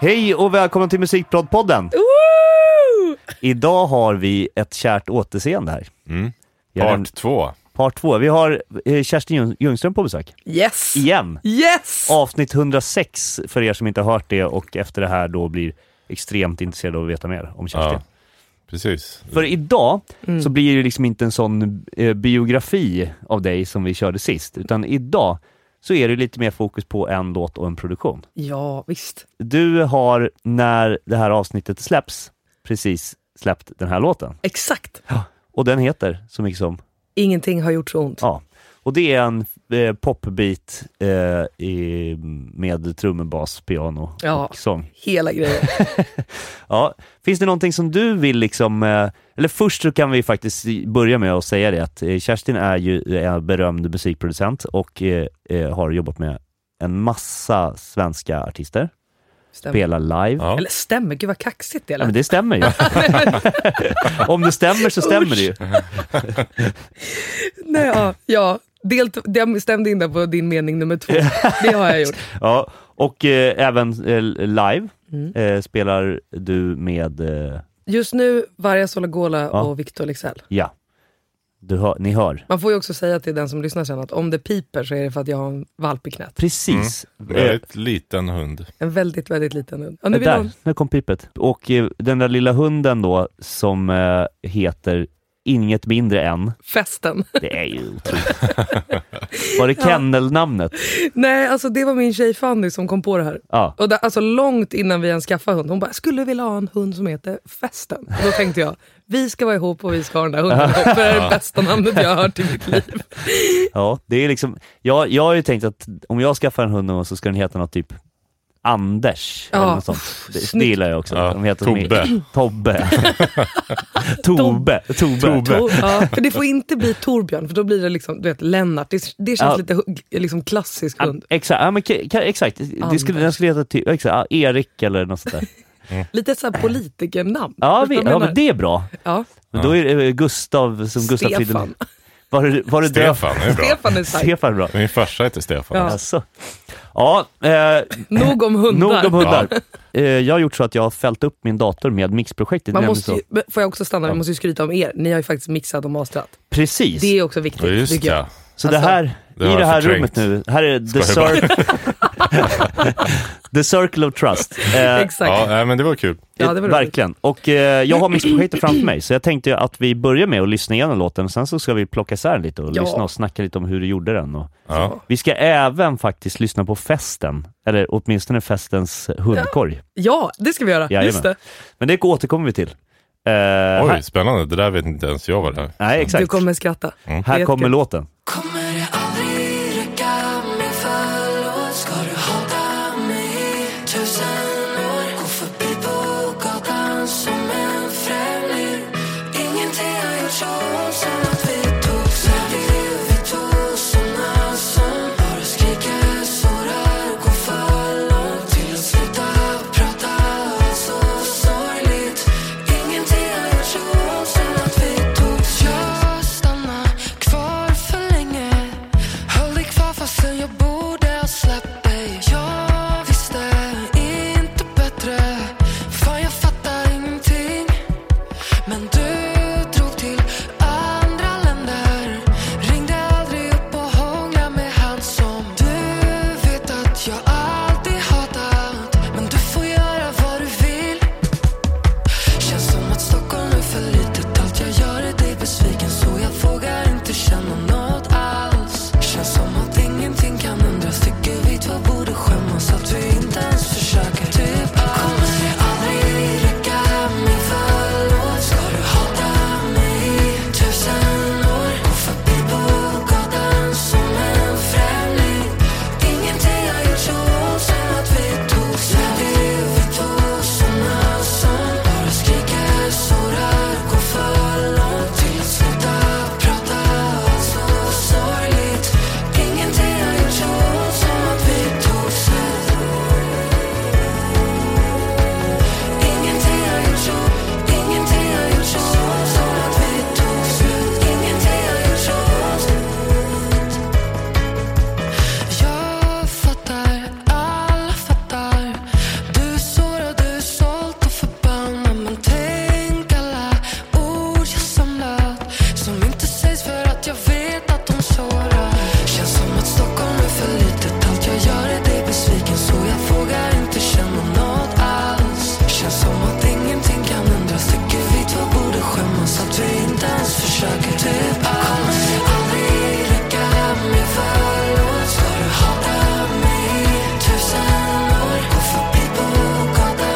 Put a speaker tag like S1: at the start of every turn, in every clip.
S1: Hej och välkomna till Musikprodpodden!
S2: Woo!
S1: Idag har vi ett kärt återseende här. Jag är en-
S3: Part två.
S1: part två. Vi har eh, Kerstin Ljung- Ljungström på besök.
S2: Yes!
S1: Igen!
S2: Yes!
S1: Avsnitt 106 för er som inte har hört det och efter det här då blir extremt intresserade av att veta mer om Kerstin.
S3: Ja, precis.
S1: För idag så blir det liksom inte en sån eh, biografi av dig som vi körde sist, utan idag så är det lite mer fokus på en låt och en produktion.
S2: Ja, visst.
S1: Du har, när det här avsnittet släpps, precis släppt den här låten.
S2: Exakt.
S1: Och den heter så mycket som,
S2: Ingenting har gjort så ont.
S1: ja. Och det är en eh, popbeat eh, i, med trummor, bas, piano
S2: Ja.
S1: och sång.
S2: Hela grejen.
S1: Ja. Finns det någonting som du vill liksom, eh, eller först så kan vi faktiskt i- börja med att säga det att eh, Kerstin är ju en berömd musikproducent och eh, eh, har jobbat med en massa svenska artister,
S2: Stämmer.
S1: spelar live.
S3: Ja.
S2: Eller stämmer, gud vad kaxigt det
S1: Ja, men
S2: lät.
S1: det stämmer ju. Om det stämmer så stämmer det ju.
S2: Nej, ja, ja. Delt, jag stämde in där på din mening nummer två. Det har jag gjort.
S1: Ja, och eh, även eh, live
S2: Mm.
S1: eh, spelar du med, eh,
S2: Just nu, Varja Solagola
S1: Ja.
S2: och Victor Leksell.
S1: ja, du hör, ni hör.
S2: Man får ju också säga till den som lyssnar sen att om det piper så är det för att jag har en valp i knät.
S1: Precis. Eh,
S3: Väldigt liten hund.
S2: En väldigt, väldigt liten hund. Ja, nu
S1: Där,
S2: vill hon-
S1: där kom pipet. Och eh, den där lilla hunden då som eh, heter Inget mindre än,
S2: Festen.
S1: det är ju otroligt. Var det kennelnamnet?
S2: Nej, alltså det var min tjej Fanny som kom på det här.
S1: Ja.
S2: Och där, alltså långt innan vi ens skaffade hund, hon bara “skulle vilja ha en hund som heter Festen”. Och då tänkte jag, vi ska vara ihop och vi ska ha den där hunden ihop, för det är det bästa namnet jag har hört i mitt liv.
S1: Ja, det är liksom, jag, jag har ju tänkt att om jag skaffar en hund någon gång så ska den heta något typ Anders eller
S2: Ja,
S1: något sånt. Det, det
S2: snyggt.
S1: gillar jag också.
S3: Ja,
S1: De heter som-
S3: Tobbe.
S1: Tobbe. Tobbe. Tobbe.
S3: Tobbe.
S2: Tor- ja, för det får inte bli Torbjörn, för då blir det liksom, du vet, Lennart. Det, det känns
S1: Ja.
S2: lite hugg- liksom klassisk
S1: Ja,
S2: hund.
S1: exakt, ja, men, ka- ka- exakt. Det skulle, den skulle heta typ, exakt, ja, Erik eller något sånt där.
S2: Lite så här politikernamn.
S1: Ja, vi,
S2: Förstår du vad jag
S1: ja men
S2: menar?
S1: det är bra.
S2: ja.
S1: Men Då är det eh, Gustav som Gustav
S2: Stefan.
S1: Fridolin. Var det, var det
S3: Stefan är bra.
S2: Stefan är stark.
S1: Stefan är bra.
S3: Min farsa heter Stefan.
S2: Ja.
S1: Alltså. Ja, eh,
S2: Nog om hundar.
S1: nog om hundar.
S3: Ja.
S1: Eh, jag har gjort så att jag har fällt upp min dator med mixprojektet.
S2: Man
S1: nämligen
S2: måste
S1: så.
S2: ju, men får jag också stanna, vi måste ju skryta om er. Ni har ju faktiskt mixat och mastrat.
S1: Precis.
S2: Det är också viktigt,
S3: Ja, just
S2: tycker jag.
S3: det.
S1: Så
S2: Alltså,
S1: det här,
S3: det
S1: i
S3: har
S1: det
S3: jag
S1: här rummet
S3: förträngt.
S1: nu, här är the,
S3: Skojar bara.
S1: cir- the circle of trust. Eh,
S2: Exakt.
S3: Ja, nej, men det var kul.
S2: Ja, det var roligt.
S1: Verkligen. Och eh, jag har mixprojektet framför mig, så jag tänkte ju att vi börjar med att lyssna igenom låten, sen så ska vi plocka isär den lite och
S2: Ja.
S1: lyssna och snacka lite om hur du gjorde den. Och
S3: Ja.
S1: vi ska även faktiskt lyssna på festen, eller åtminstone festens hundkorg.
S2: Ja, det ska vi göra.
S1: Jajamän.
S2: Just det.
S1: Men det återkommer vi till. Eh,
S3: Oj,
S1: här,
S3: spännande. Det där vet inte ens jag vad det är.
S1: nej,
S2: Du
S1: exakt.
S2: kommer skratta.
S1: Mm. här
S2: Det är
S1: kommer
S2: jättekul.
S1: låten.
S4: Kommer det aldrig räcka med förlåt? Ska du hata mig i tusen år? Gå förbi på gatan som en främling Ingenting har gjort så ont som att vi tog sen Vi lever två såna som bara skriker, sårar, går för långt Till att sluta prata, allt så sorgligt Ingenting har gjort så ont som att vi tog Jag stannar kvar för länge typ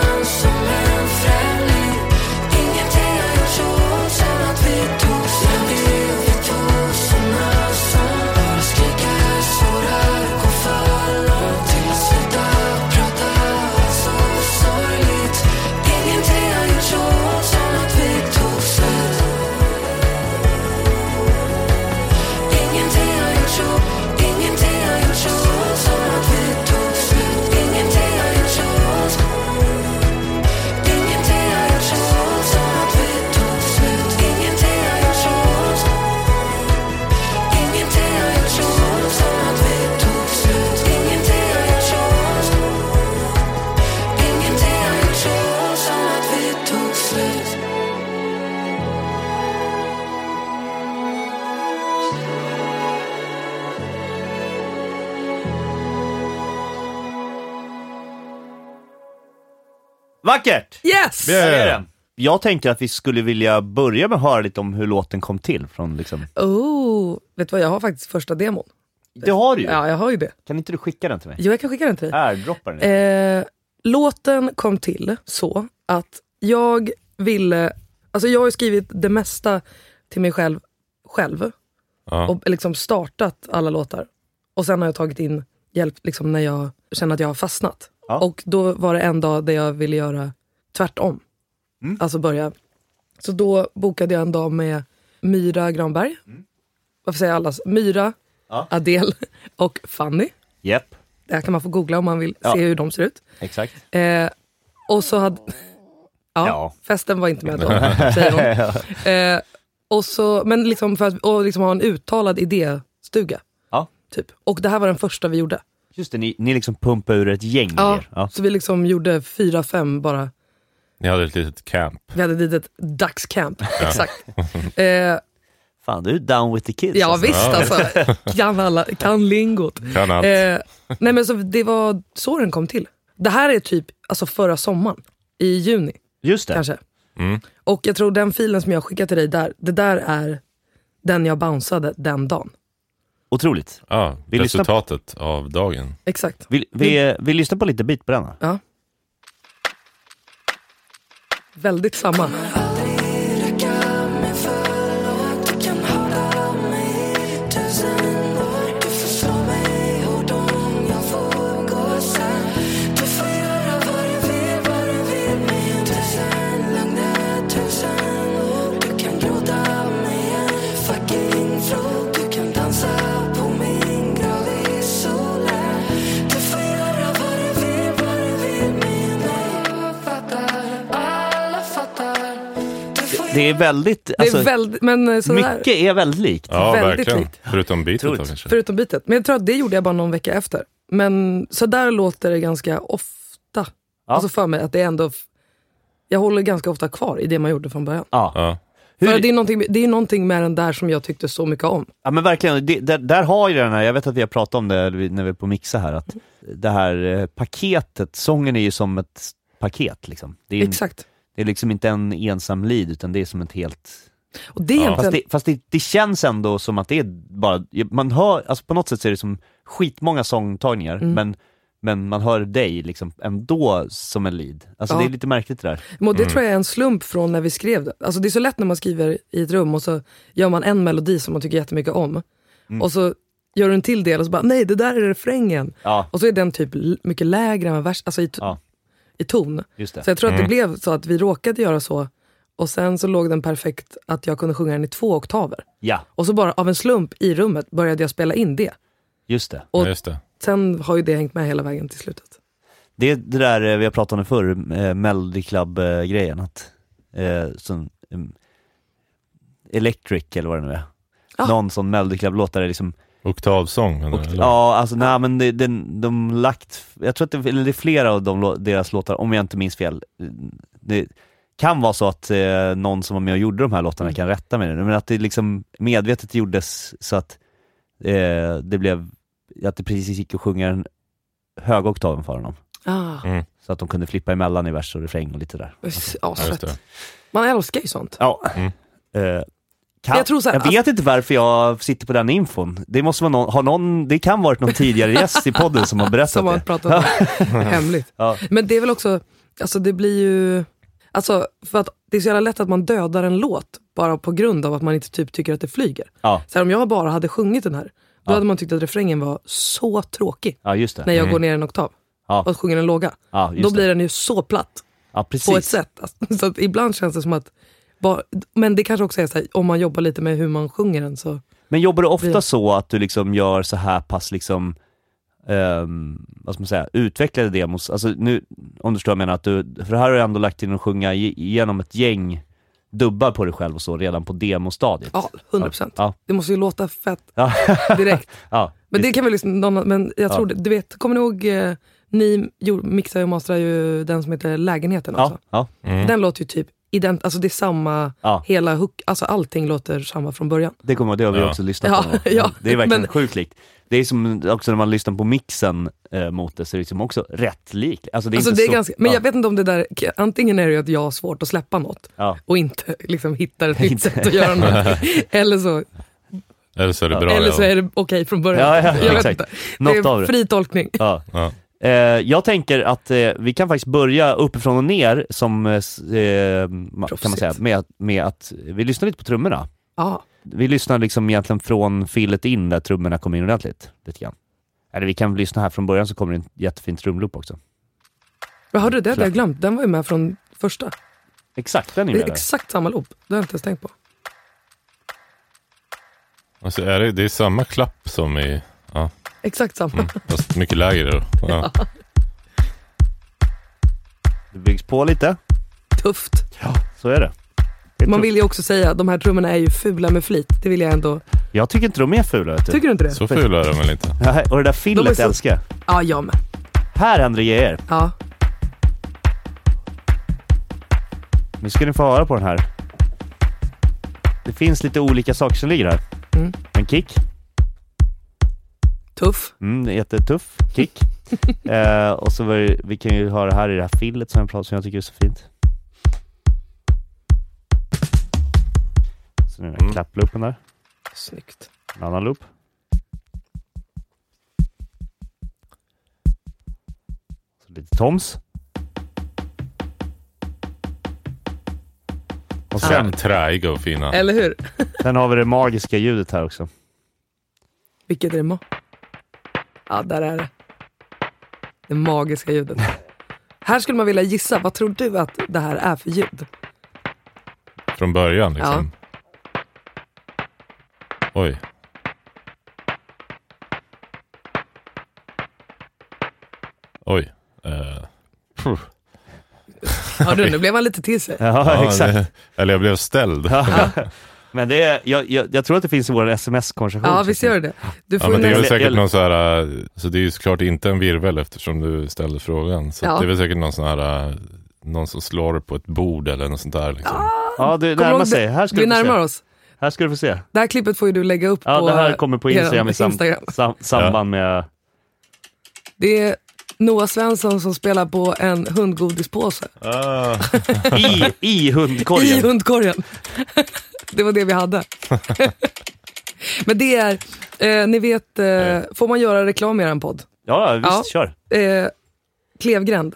S4: typ
S1: Vackert!
S2: Yes!
S3: Yeah.
S1: Där är den. Äh. Jag tänker att vi skulle vilja börja med att höra lite om hur låten kom till. Från liksom...
S2: Oh, vet du vad, jag har faktiskt första demon.
S1: Det har du ju.
S2: Ja, jag har ju det.
S1: Kan inte du skicka den till mig?
S2: Jo, jag kan skicka den till dig.
S1: Här, droppa den.
S2: Eh, låten kom till så att jag ville... Alltså jag har ju skrivit det mesta till mig själv, själv
S3: Ja.
S2: och liksom startat alla låtar. Och sen har jag tagit in hjälp liksom när jag känner att jag har fastnat.
S1: Ja.
S2: Och då var det en dag där jag ville göra tvärtom.
S1: Mm.
S2: Alltså börja. Så då bokade jag en dag med Myra Granberg. Varför säger jag alla? Myra,
S1: Mm. Ja.
S2: Adele och Fanny.
S1: Japp,
S2: Det här kan man få googla om man vill
S1: Ja.
S2: se hur de ser ut.
S1: exakt.
S2: Eh, och så hade... Ja,
S1: Ja.
S2: festen var inte med då, säger hon. Eh, och så, men liksom för att och liksom ha en uttalad idéstuga.
S1: Ja.
S2: Typ. Och det här var den första vi gjorde.
S1: Just det, ni, ni liksom pumpar ur ett gäng idéer. Ja.
S2: Så vi liksom gjorde fyra, fem bara.
S3: Ni hade ett litet camp.
S2: Vi hade ett litet dagscamp. Exakt. Eh,
S1: Fan, du är down with the kids.
S2: ja
S1: alltså.
S2: visst alltså. Kan, alla, kan lingot.
S3: Kan allt.
S2: Eh, nej men så det var så den kom till. Det här är typ alltså förra sommaren, i juni.
S1: Just det.
S2: kanske.
S1: Mm.
S2: Och jag tror den filen som jag skickade till dig där, det där är den jag bounceade den dagen.
S1: Otroligt.
S3: ja,
S1: vi lyssnar på-
S3: resultatet av dagen.
S2: Exakt.
S1: Vi, vi, vi lyssnar på lite bit på den. här.
S2: Ja. Väldigt samma.
S1: Det är väldigt,
S2: Det
S1: alltså,
S2: är väldigt, men eh, sådär.
S1: mycket är väldigt likt.
S3: Ja,
S2: Väldigt
S3: verkligen.
S2: likt.
S3: Förutom bitet då
S1: Otroligt.
S3: kanske.
S2: Förutom bitet. Men jag tror att det gjorde jag bara någon vecka efter. Men så där låter det ganska ofta. Alltså för mig att det är ändå, f- jag håller ganska ofta kvar i det man gjorde från början.
S1: Ja.
S3: Ja.
S2: För
S1: Hur,
S2: det, är någonting, det är någonting med den där som jag tyckte så mycket om.
S1: ja men verkligen, det, där, där har ju den här, jag vet att vi har pratat om det när vi är på Mixa här, att det här eh, paketet, sången är ju som ett paket liksom. Det är, ju-
S2: Exakt.
S1: det är liksom inte en ensam lid utan det är som ett helt...
S2: Och det är
S1: Fast,
S2: egentligen,
S1: det, fast det, det känns ändå som att det är bara, man hör, alltså på något sätt så är det som skitmånga sångtagningar,
S2: Mm.
S1: men men man hör dig liksom ändå som en lead. Alltså
S2: Ja.
S1: det är lite märkligt det där.
S2: Men Det tror jag är en slump från när vi skrev det. Alltså det är så lätt när man skriver i ett rum och så gör man en melodi som man tycker jättemycket om.
S1: Mm.
S2: Och så gör du en till del och så bara, nej det där är refrängen.
S1: Ja,
S2: Och så är den typ l- mycket lägre än vers, alltså i, t-
S1: Ja.
S2: i ton.
S1: just det. Mm.
S2: Så jag tror att det blev så att vi råkade göra så och sen så låg den perfekt att jag kunde sjunga den i två oktaver.
S1: Ja,
S2: Och så bara av en slump i rummet började jag spela in det.
S1: just det.
S2: Och-
S3: Ja, just det.
S2: Sen har ju det hängt med hela vägen till slutet.
S1: Det är det där eh, vi har pratat om det förr, eh, Melody Club-grejen. Att, eh, som, em, electric eller vad det nu är.
S2: Ah.
S1: Någon sån Melody Club-låt där det liksom,
S3: Oktavsång. menar du, eller?
S1: ja alltså nej men det, den, de lagt, jag tror att det, eller det är flera av de, lå- deras låtar, om jag inte minns fel. Det kan vara så att eh, någon som var med och gjorde de här låtarna kan rätta mig nu, men att det liksom medvetet gjordes så att eh, det blev, att det precis gick att sjunga den höga oktaven för honom.
S2: Ah,
S3: Mm,
S1: Så att de kunde flippa emellan i vers och refräng och lite där.
S2: ja,
S3: Ja, just
S2: svett.
S3: det.
S2: Man älskar ju sånt.
S1: Ja.
S3: Mm.
S1: Eh, kan,
S2: Jag
S1: jag,
S2: tror så här, alltså-
S1: vet inte varför jag sitter på den infon. Det, måste vara någon, har någon, det kan varit någon tidigare gäst i podden som har berättat
S2: Som man
S1: det.
S2: pratar om. Hemligt.
S1: Ja.
S2: Men det är väl också, alltså det blir ju, alltså för att det är så jävla lätt att man dödar en låt bara på grund av att man inte typ tycker att det flyger.
S1: Ja,
S2: Så här, om jag bara hade sjungit den här, då hade man tyckt att refrängen var så tråkig
S1: ja, just
S2: när
S1: det.
S2: jag går ner en oktav
S1: Ja.
S2: och sjunger den låga.
S1: Mm. Ja, just
S2: då
S1: det.
S2: blir den ju så platt
S1: Ja,
S2: på
S1: precis.
S2: ett sätt. Alltså, så att ibland känns det som att, bara, men det kanske också är så här, om man jobbar lite med hur man sjunger den så,
S1: Men jobbar du ofta
S2: Ja.
S1: så att du liksom gör så här pass liksom, ehm, vad ska man säga, utvecklade demos? Alltså nu, om du förstår vad jag menar, att du, för här har du ändå lagt in att sjunga i- igenom ett gäng dubbar på dig själv och så redan på demostadiet.
S2: ja 100%.
S1: Ja.
S2: Det måste ju låta fett
S1: Ja.
S2: direkt.
S1: Ja,
S2: Men det kan väl liksom, någon, men jag
S1: Ja.
S2: tror det, du vet, kommer ni ihåg, eh, ni gjorde- mixar och masterar ju den som heter Lägenheten också.
S1: ja, ja.
S2: Den låter ju typ ident- alltså det är samma,
S1: Ja.
S2: hela hook, alltså allting låter samma från början.
S1: Det kommer det har vi
S3: Ja.
S1: också lyssnat på.
S2: Ja,
S1: någon gång.
S2: ja,
S1: det är verkligen
S2: men-
S1: sjukt likt. Det är som också när man lyssnar på mixen eh, mot det, så är det liksom också rätt lik. Alltså det är
S2: Alltså
S1: inte
S2: det är
S1: så,
S2: ganska, men
S1: ja,
S2: jag vet inte om det där, antingen är det ju att jag har svårt att släppa något
S1: Ja.
S2: och inte liksom hittar ett nytt
S1: Inte.
S2: sätt att göra något. Eller så,
S3: Eller så är det
S1: Ja.
S3: bra.
S2: eller
S3: ja.
S2: så är det okej från början.
S1: Ja, ja,
S2: jag vet
S1: exakt.
S2: inte. Det
S1: Något av
S2: är
S1: det.
S2: fri tolkning.
S1: Ja.
S3: Ja.
S1: Eh, jag tänker att eh, vi kan faktiskt börja uppifrån och ner, som, eh, s- eh, ma- kan man
S2: Proffsigt.
S1: säga, med, att- med att vi lyssnar lite på trummorna.
S2: Ja.
S1: Vi lyssnar liksom egentligen från fillet in, där trummorna kommer in ordentligt. Lite grann. Eller vi kan lyssna här från början, så kommer det en jättefin trumloop också.
S2: Vad hörde du? Det hade jag glömt. Den var ju med från första.
S1: Exakt, den är
S2: Det
S1: med
S2: är
S1: där.
S2: exakt samma loop. Det har jag inte ens tänkt på.
S3: Alltså, är det, det är samma klapp som i... Ja.
S2: Exakt samma.
S3: Mm. Fast mycket lägre då. Ja.
S1: Det byggs på lite,
S2: Tufft.
S1: så är det. det är
S2: Man
S1: tufft.
S2: vill ju också säga, de här trummorna är ju fula med flit. Det vill jag ändå.
S1: Jag tycker inte de är fula. Vet du.
S2: Tycker du inte det?
S3: Så ful är de väl inte?
S1: Nej, Och det där
S2: De är
S1: fillet
S2: så-
S1: älskar jag.
S2: Ja, jag med.
S1: Här händer det grejer.
S2: Ja.
S1: Nu ska ni få höra på den här. Det finns lite olika saker som ligger här.
S2: Mm.
S1: En kick.
S2: Tuff.
S1: Mm, det är jättetuff kick. eh, och så var det, vi kan ju höra här i det här fillet som jag, pratar, som jag tycker är så fint. Så nu den här
S3: Mm.
S1: klapploopen där.
S2: Snyggt.
S1: En annan loop. Så lite toms. Och sen,
S3: Sen träiga och fina.
S2: Eller hur?
S1: sen har vi det magiska ljudet här också.
S2: Vilket är det ma- Ja, där är det. Det magiska ljudet. Här skulle man vilja gissa, vad tror du att det här är för ljud?
S3: Från början liksom. Oj. Oj. Eh, pff.
S2: Hörde du, nu blev han lite till sig.
S1: Ja,
S3: Ja,
S1: exakt.
S3: det- eller jag blev ställd. Ja,
S1: Ja. Men det är, jag, jag, jag tror att det finns i vår sms-konversation.
S2: Ja, visst gör det du får
S3: men det är väl
S1: nästa-
S3: säkert
S1: eller-
S3: någon så här, eh, så det är ju såklart inte en virvel eftersom du ställde frågan. Så
S2: Ja.
S3: det är väl säkert någon sån här, eh, någon som slår på ett bord eller något sånt där. Liksom.
S1: Ja, du
S2: Kommer du
S1: närmar
S2: ihåg
S1: sig.
S2: det?
S1: Här ska
S2: Vi
S1: du få
S2: närmar
S1: se.
S2: oss.
S1: Här ska du få se.
S2: Det här klippet får ju du lägga upp
S1: Ja,
S2: på
S1: det här kommer på
S2: eh,
S1: Instagram i sam,
S2: Instagram.
S1: sam, samband med...
S2: Det är Noah Svensson som spelar på en hundgodispåse
S3: Ah.
S1: I, i
S2: i
S1: hundkorgen.
S2: hundkorgen. det var det vi hade. Men det är, eh, ni vet, eh, får man göra reklam i er podd?
S1: Ja, visst.
S2: Ja.
S1: Kör.
S2: Eh, Klevgränd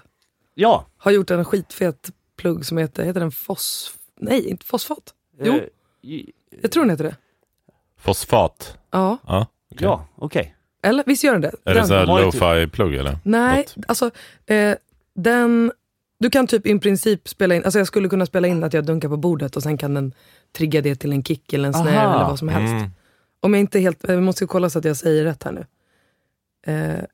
S1: Ja.
S2: har gjort en skitfet plugg som heter, heter den fos... Nej, inte fosfat. Jo,
S1: Eh, i-
S2: jag tror den heter det.
S3: Fosfat.
S2: Ja,
S3: Ja, okej.
S1: Ja, okej.
S2: eller visst gör den det?
S3: Är
S2: den.
S3: det så här
S1: har ju typ-
S3: lo-fi-plugg eller?
S2: Nej,
S3: Något?
S2: alltså eh, den... Du kan typ i princip spela in, alltså jag skulle kunna spela in att jag dunkar på bordet och sen kan den trigga det till en kick eller en snare
S1: Aha.
S2: eller vad som helst.
S3: Mm.
S2: Om jag inte helt, vi måste ju kolla så att jag säger rätt här nu. Eh,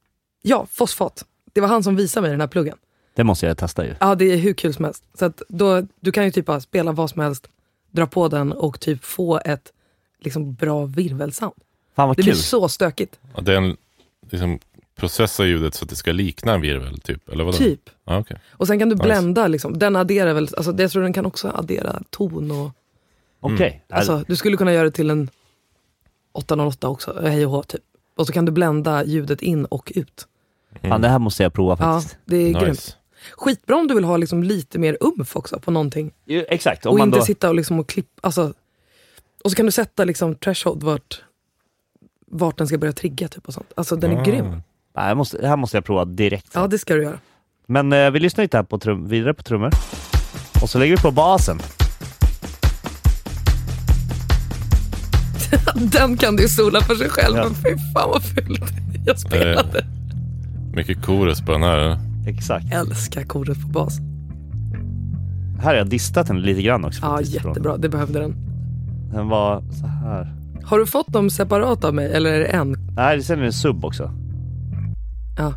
S2: ja, fosfat. Det var han som visade mig den här pluggen.
S1: Det måste jag testa ju.
S2: Ja, det är hur kul som helst. Så att då, du kan ju typ bara spela vad som helst, dra på den och typ få ett liksom bra virvelsound.
S1: Fan vad
S2: Det
S1: kul.
S2: blir så stökigt.
S3: Ja, den liksom processar ljudet så att det ska likna en virvel typ? Eller vadå?
S2: Typ.
S3: Ja, okej.
S2: Och sen kan du
S3: Nice.
S2: blända, liksom. den adderar väl, alltså jag tror den kan också addera ton och
S1: Okej.
S2: Alltså, du skulle kunna göra det till en 808 också, eh, hej och hå typ. Och så kan du blända ljudet in och ut.
S1: Fan, det här måste jag prova
S2: Ja,
S1: faktiskt.
S2: det är grymt.
S3: Nice.
S2: Skitbra om du vill ha liksom lite mer umf också på någonting.
S1: Jo, Exakt. Om
S2: Och
S1: man
S2: inte
S1: då...
S2: sitta och, liksom och klippa. Alltså, och så kan du sätta liksom threshold vart, vart den ska börja trigga. Typ och sånt. Alltså den är
S3: Ah.
S2: grym.
S1: Nej, jag måste, det här måste jag prova direkt.
S2: Ja, det ska du göra.
S1: Men eh, vi lyssnar lite här på trum, vidare på trummor. Och så lägger vi på basen.
S2: Den kan du ju sola för sig själv.
S1: Ja.
S2: Men fy fan vad fult jag spelade.
S3: Eh, Mycket chorus på den här. eller?
S1: Exakt.
S2: Älskar koret på bas.
S1: Här har jag distat den lite grann också.
S2: Ja,
S1: faktiskt, från-
S2: jättebra. Det behövde den.
S1: Den var så här.
S2: Har du fått dem separat av mig eller är det en?
S1: Nej, sen är det en sub också.
S2: Ja.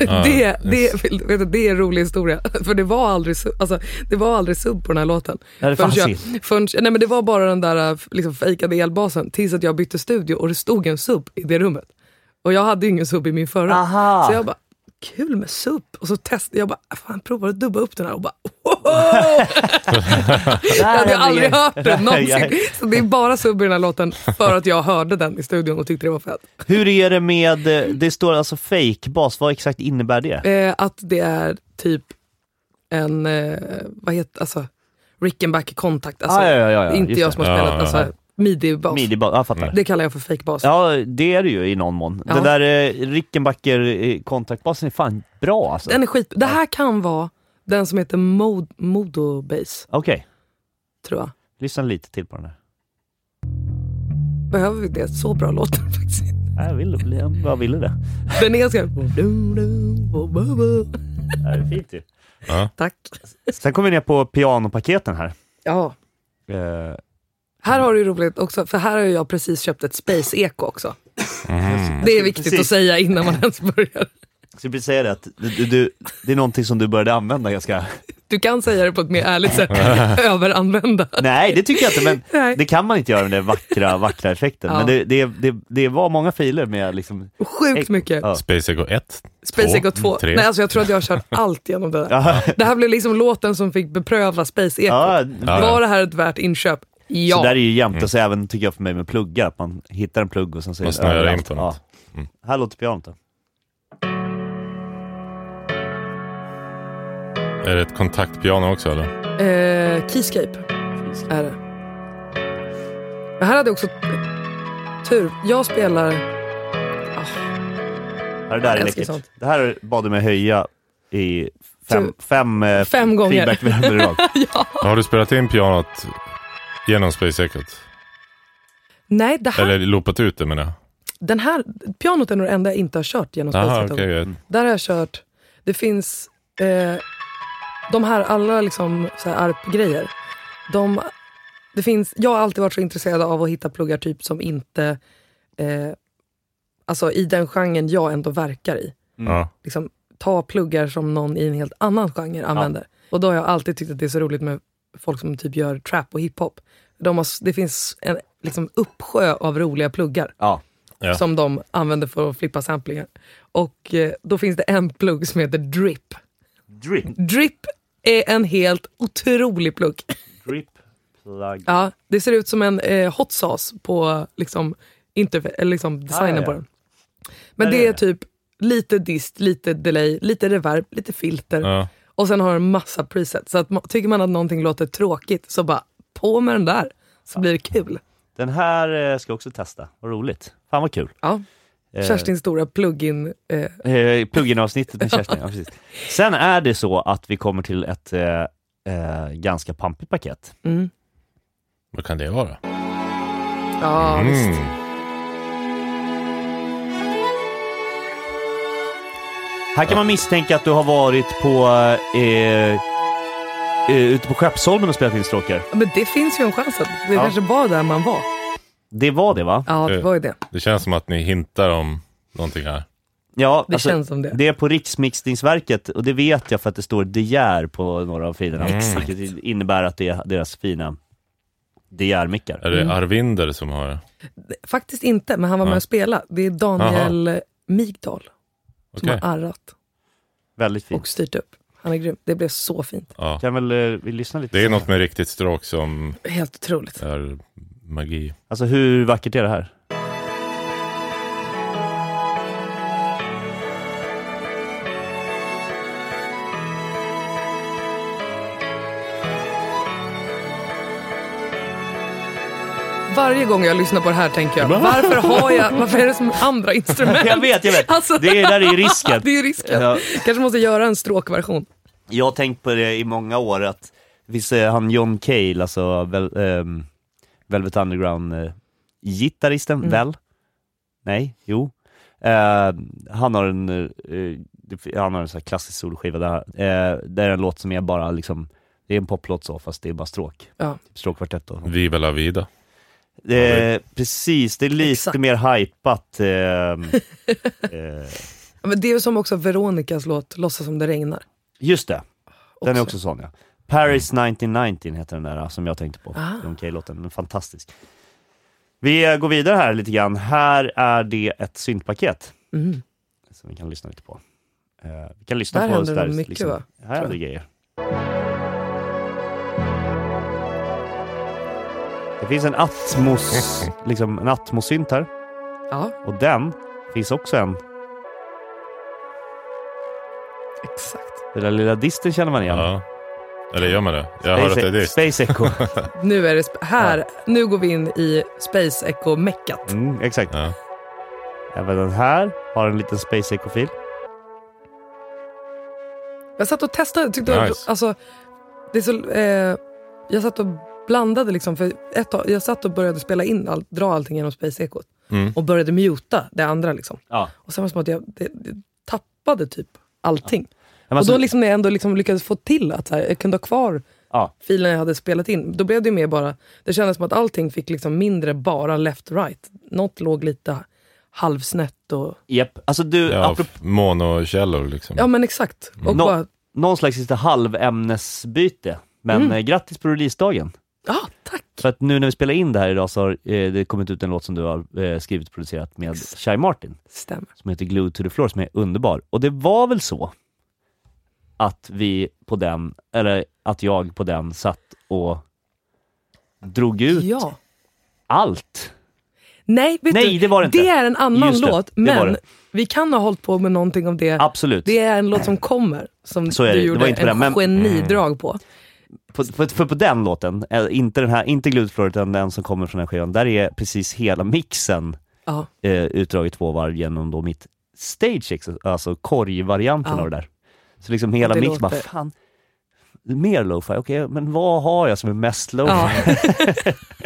S3: Ja,
S2: det, det,
S3: Ah, yes.
S2: vet du, det är en rolig historia. För det var aldrig, su- alltså, det var aldrig sub på den här låten.
S1: Ja, det
S2: Förrän
S1: fanns
S2: jag, förrän, nej, men det var bara den där äh, liksom, fejkade elbasen tills att jag bytte studio och det stod en sub i det rummet. Och jag hade ju ingen sub i min förra.
S1: Aha.
S2: Så jag bara, kul med sub. Och så testade jag, bara, fan provar att dubba upp den här och bara, wow, oh! Jag
S1: Där
S2: hade
S1: har vi
S2: aldrig
S1: det.
S2: hört den någonsin.
S1: Nej.
S2: Så det är bara sub i den här låten för att jag hörde den i studion och tyckte det var fett.
S1: Hur är det med, eh, det står alltså fake bas, vad exakt innebär det?
S2: Eh, att det är typ en, eh, vad heter, alltså, Rickenbacker-kontakt. Alltså,
S1: Ah, ja, ja, ja, ja,
S2: inte
S1: just
S2: jag
S1: det. Mm.
S2: som har spelat,
S3: Ja, ja, ja.
S2: alltså midi-bas.
S1: Midi-bas, jag fattar.
S2: Det kallar jag för fake bas.
S1: Ja, det är det ju i någon mån.
S2: Ja.
S1: Den där eh, Rickenbacker eh, kontaktbasen är fan bra alltså.
S2: Den är skit. Det här kan vara den som heter Mod- Modo Base,
S1: Okej,
S2: tror jag.
S1: lyssna lite till på den här.
S2: Behöver vi det? Så bra låter den faktiskt inte.
S1: Jag ville, bli- jag bara ville det.
S2: Den är ganska...
S1: Det är fint ju.
S2: Tack.
S1: Sen kommer vi ner på pianopaketen här.
S2: Ja.
S1: Eh,
S2: Här har du ju roligt också, för här har ju jag precis köpt ett Space Eco också. Det är viktigt
S1: Precis.
S2: att säga innan man ens börjar.
S1: så jag vill säga det att du, du- du, det är någonting som du började använda ganska...
S2: Du kan säga det på ett mer ärligt sätt. Överanvända.
S1: Nej, det tycker jag inte, men
S2: Nej.
S1: det kan man inte göra med den vackra, vackra effekten.
S2: Ja.
S1: Men det, det, det, det var många filer med liksom...
S2: Sjukt mycket.
S1: Ja.
S3: Space Echo 1.
S2: Space Echo 2.
S3: tre.
S2: Nej, alltså jag tror att jag har kört allt genom det där. Det här blev liksom låten som fick bepröva Space Eco.
S1: Ja,
S2: Var det här ett värt inköp? Ja.
S1: Så där är ju jämt, och så även tycker jag för mig med pluggar, att man hittar en plugg och sen så är
S3: Mm. Man
S1: det
S3: snöar in
S1: överallt.
S3: på något. Mm.
S1: Här låter pianot då.
S3: Är det ett kontaktpiano också eller?
S2: Eh, keyscape är det. Men här hade jag också tur. Jag spelar...
S1: Ja, det, där är
S2: älskar
S1: läckert.
S2: sånt. Typ
S1: det här bad du mig höja i fem, fem, eh,
S2: Fem gånger.
S1: feedbackvänner i rad.
S3: Har du spelat in pianot genom Space Echo?
S2: Nej, det här,
S3: Eller loopat ut det menar jag?
S2: den här, pianot är nog det enda jag inte har kört genom
S3: Jaha,
S2: Space
S3: okej.
S2: Echo.
S3: jag-
S2: Där har jag kört... Det finns... Eh, de här alla liksom, så här ARP-grejer. De, det finns, jag har alltid varit så intresserad av att hitta pluggar typ som inte... Eh, alltså i den genren jag ändå verkar i.
S3: Ja.
S2: liksom, ta pluggar som någon i en helt annan genre använder. Och då har jag alltid tyckt att det är så roligt med folk som typ gör trap och hiphop. De har, s- det finns en liksom, uppsjö av roliga pluggar
S1: Ja.
S3: Ja.
S2: som de använder för att flippa samplingar. Och eh, då finns det en plugg som heter drip.
S1: Drip,
S2: Drip är en helt otrolig plugg.
S1: drip, plug.
S2: Ja, det ser ut som en eh, hot sauce på liksom, interfa- eller, liksom designen
S1: Ah, ja, ja.
S2: på den. Men
S1: Där
S2: det
S1: är
S2: är
S1: det.
S2: typ lite dist, lite delay, lite reverb, lite filter.
S3: Ja.
S2: Och sen har den massa presets. Så att, ma- tycker man att någonting låter tråkigt så bara på med den där så blir det kul.
S1: Den här eh, ska jag också testa, vad roligt. Fan vad kul.
S2: Ja. Kerstins Eh. stora plugin. Eh,
S1: Eh, Pluggen-avsnittet med Kerstin, ja, precis. Sen är det så att vi kommer till ett eh, eh, ganska pampigt paket.
S2: mm.
S3: Vad kan det vara? Hmm,
S2: Ja, visst.
S1: Här kan man misstänka att du har varit på eh, eh, ute på Skeppsholmen och spelat in stråkar.
S2: Men det finns ju en chans att det
S1: Ja.
S2: kanske var där man var.
S1: Det var det va?
S2: Ja, det
S3: Eh,
S2: var ju det.
S3: Det känns som att ni hintar om någonting här.
S1: Ja, alltså,
S2: Det känns som det.
S1: Det är på Riksmixningsverket och det vet jag för att det står De Geer på några av filerna. Vilket innebär att det är deras fina De Geer-mickar.
S3: Är det
S2: Mm.
S3: Arvinder som har...
S2: Faktiskt inte, men han var med och spelade. Det är Daniel Migdal som
S3: Okej.
S2: har arrat
S1: Väldigt fint.
S2: och styrt upp. Han är grym. Det blev så fint.
S3: Ja.
S1: Kan väl eh, vi lyssna lite?
S3: Det är något med riktigt stråk som
S2: Helt otroligt.
S3: är magi.
S1: Alltså hur vackert är det här?
S2: Varje gång jag lyssnar på det här tänker jag, varför har jag, varför är det som andra instrument?
S1: Jag vet, jag vet.
S2: Alltså-
S1: Det är, där är ju risken.
S2: Det är risken.
S1: Ja.
S2: Kanske måste göra en stråkversion.
S1: Jag har tänkt på det i många år att det finns eh, han John Cale, alltså väl, ehm, Velvet Underground eh, gitarristen, väl? Nej, jo. Eh, han har en, eh, det- han har en sån här klassisk soloskiva där, eh, där är en låt som är bara liksom, det är en poplåt så fast det är bara stråk.
S2: Ja.
S1: Typ Stråkkvartett och
S3: Viva la vida.
S1: eh, Precis, det är lite
S2: Exakt.
S1: mer hypat. ehm, eh,
S2: Ja, Men det är ju som också Veronicas låt Låtsas som det regnar.
S1: just det. Den är
S2: Också.
S1: också sån ja. Paris 1919 heter den där som jag tänkte på.
S2: Ah.
S1: John Cale-låten. Den är fantastisk. Vi eh, går vidare här lite grann. Här är det ett syntpaket.
S2: Mm.
S1: Som vi kan lyssna lite på. Eh, vi kan lyssna
S2: Där
S1: på
S2: händer
S1: sådär,
S2: det mycket, va?
S1: Här händer grejer. Det finns en Atmos, liksom en Atmos-synt här.
S2: Ja,
S1: Och den finns också en.
S2: exakt.
S1: Den där lilla disten känner man igen.
S3: Ja. Eller gör man det? Jag hör att det är det.
S1: Space Echo.
S2: Nu är det sp- här. Nu går vi in i Space Echo-meckat.
S1: Mm, exakt.
S3: Ja.
S1: Även den här har en liten Space Echo-fil.
S2: Jag satt och testade. Tyckte
S3: Nice.
S2: alltså, det är så, eh, jag satt och blandade. Liksom, för ett tag, jag satt och började spela in, all, dra allting genom Space Echo.
S3: Mm.
S2: Och började muta det andra. Liksom.
S1: Ja.
S2: Och sen var det som att jag det, det tappade typ allting.
S1: Men
S2: Och
S1: alltså,
S2: då liksom, när jag ändå liksom lyckades få till att så här, jag kunde ha kvar
S1: Ja.
S2: filen jag hade spelat in, då blev det ju mer bara... Det kändes som att allting fick liksom mindre bara left-right. Något låg lite halvsnett och...
S1: japp. alltså du,
S3: Ja,
S1: apropå,
S3: f- monokällor liksom.
S2: Ja men exakt. Och
S1: Nå-
S2: bara,
S1: någon slags lite halvämnesbyte. Men
S2: Mm.
S1: eh, grattis på releasedagen.
S2: ah, tack!
S1: För att nu när vi spelar in det här idag så har eh, det kommit ut en låt som du har eh, skrivit och producerat med Shai Martin.
S2: Stämmer.
S1: som heter Glue to the floor som är underbar. Och det var väl så att vi på den, eller att jag på den satt och drog ut
S2: Ja.
S1: allt.
S2: Nej, vet
S1: Nej,
S2: du,
S1: det var det inte.
S2: är en annan
S1: Just det,
S2: låt,
S1: det var
S2: men
S1: det.
S2: vi kan ha hållit på med någonting om det.
S1: Absolut.
S2: Det är en låt som kommer, som
S1: Så är det.
S2: du
S1: Det
S2: gjorde
S1: var inte på
S2: en
S1: den, men-
S2: genidrag på.
S1: På, för, för på den låten, eh, inte den här, inte Glue to the floor utan den som kommer från den här skivan, där är precis hela mixen
S2: Ja.
S1: eh, utdraget två varv genom då mitt stage ex, alltså korgvarianten
S2: Ja.
S1: av det där. Så liksom hela
S2: Det
S1: mixen bara,
S2: låter-
S1: fan, mer lo-fi, okej, men vad har jag som är mest lo-fi?
S2: Ja.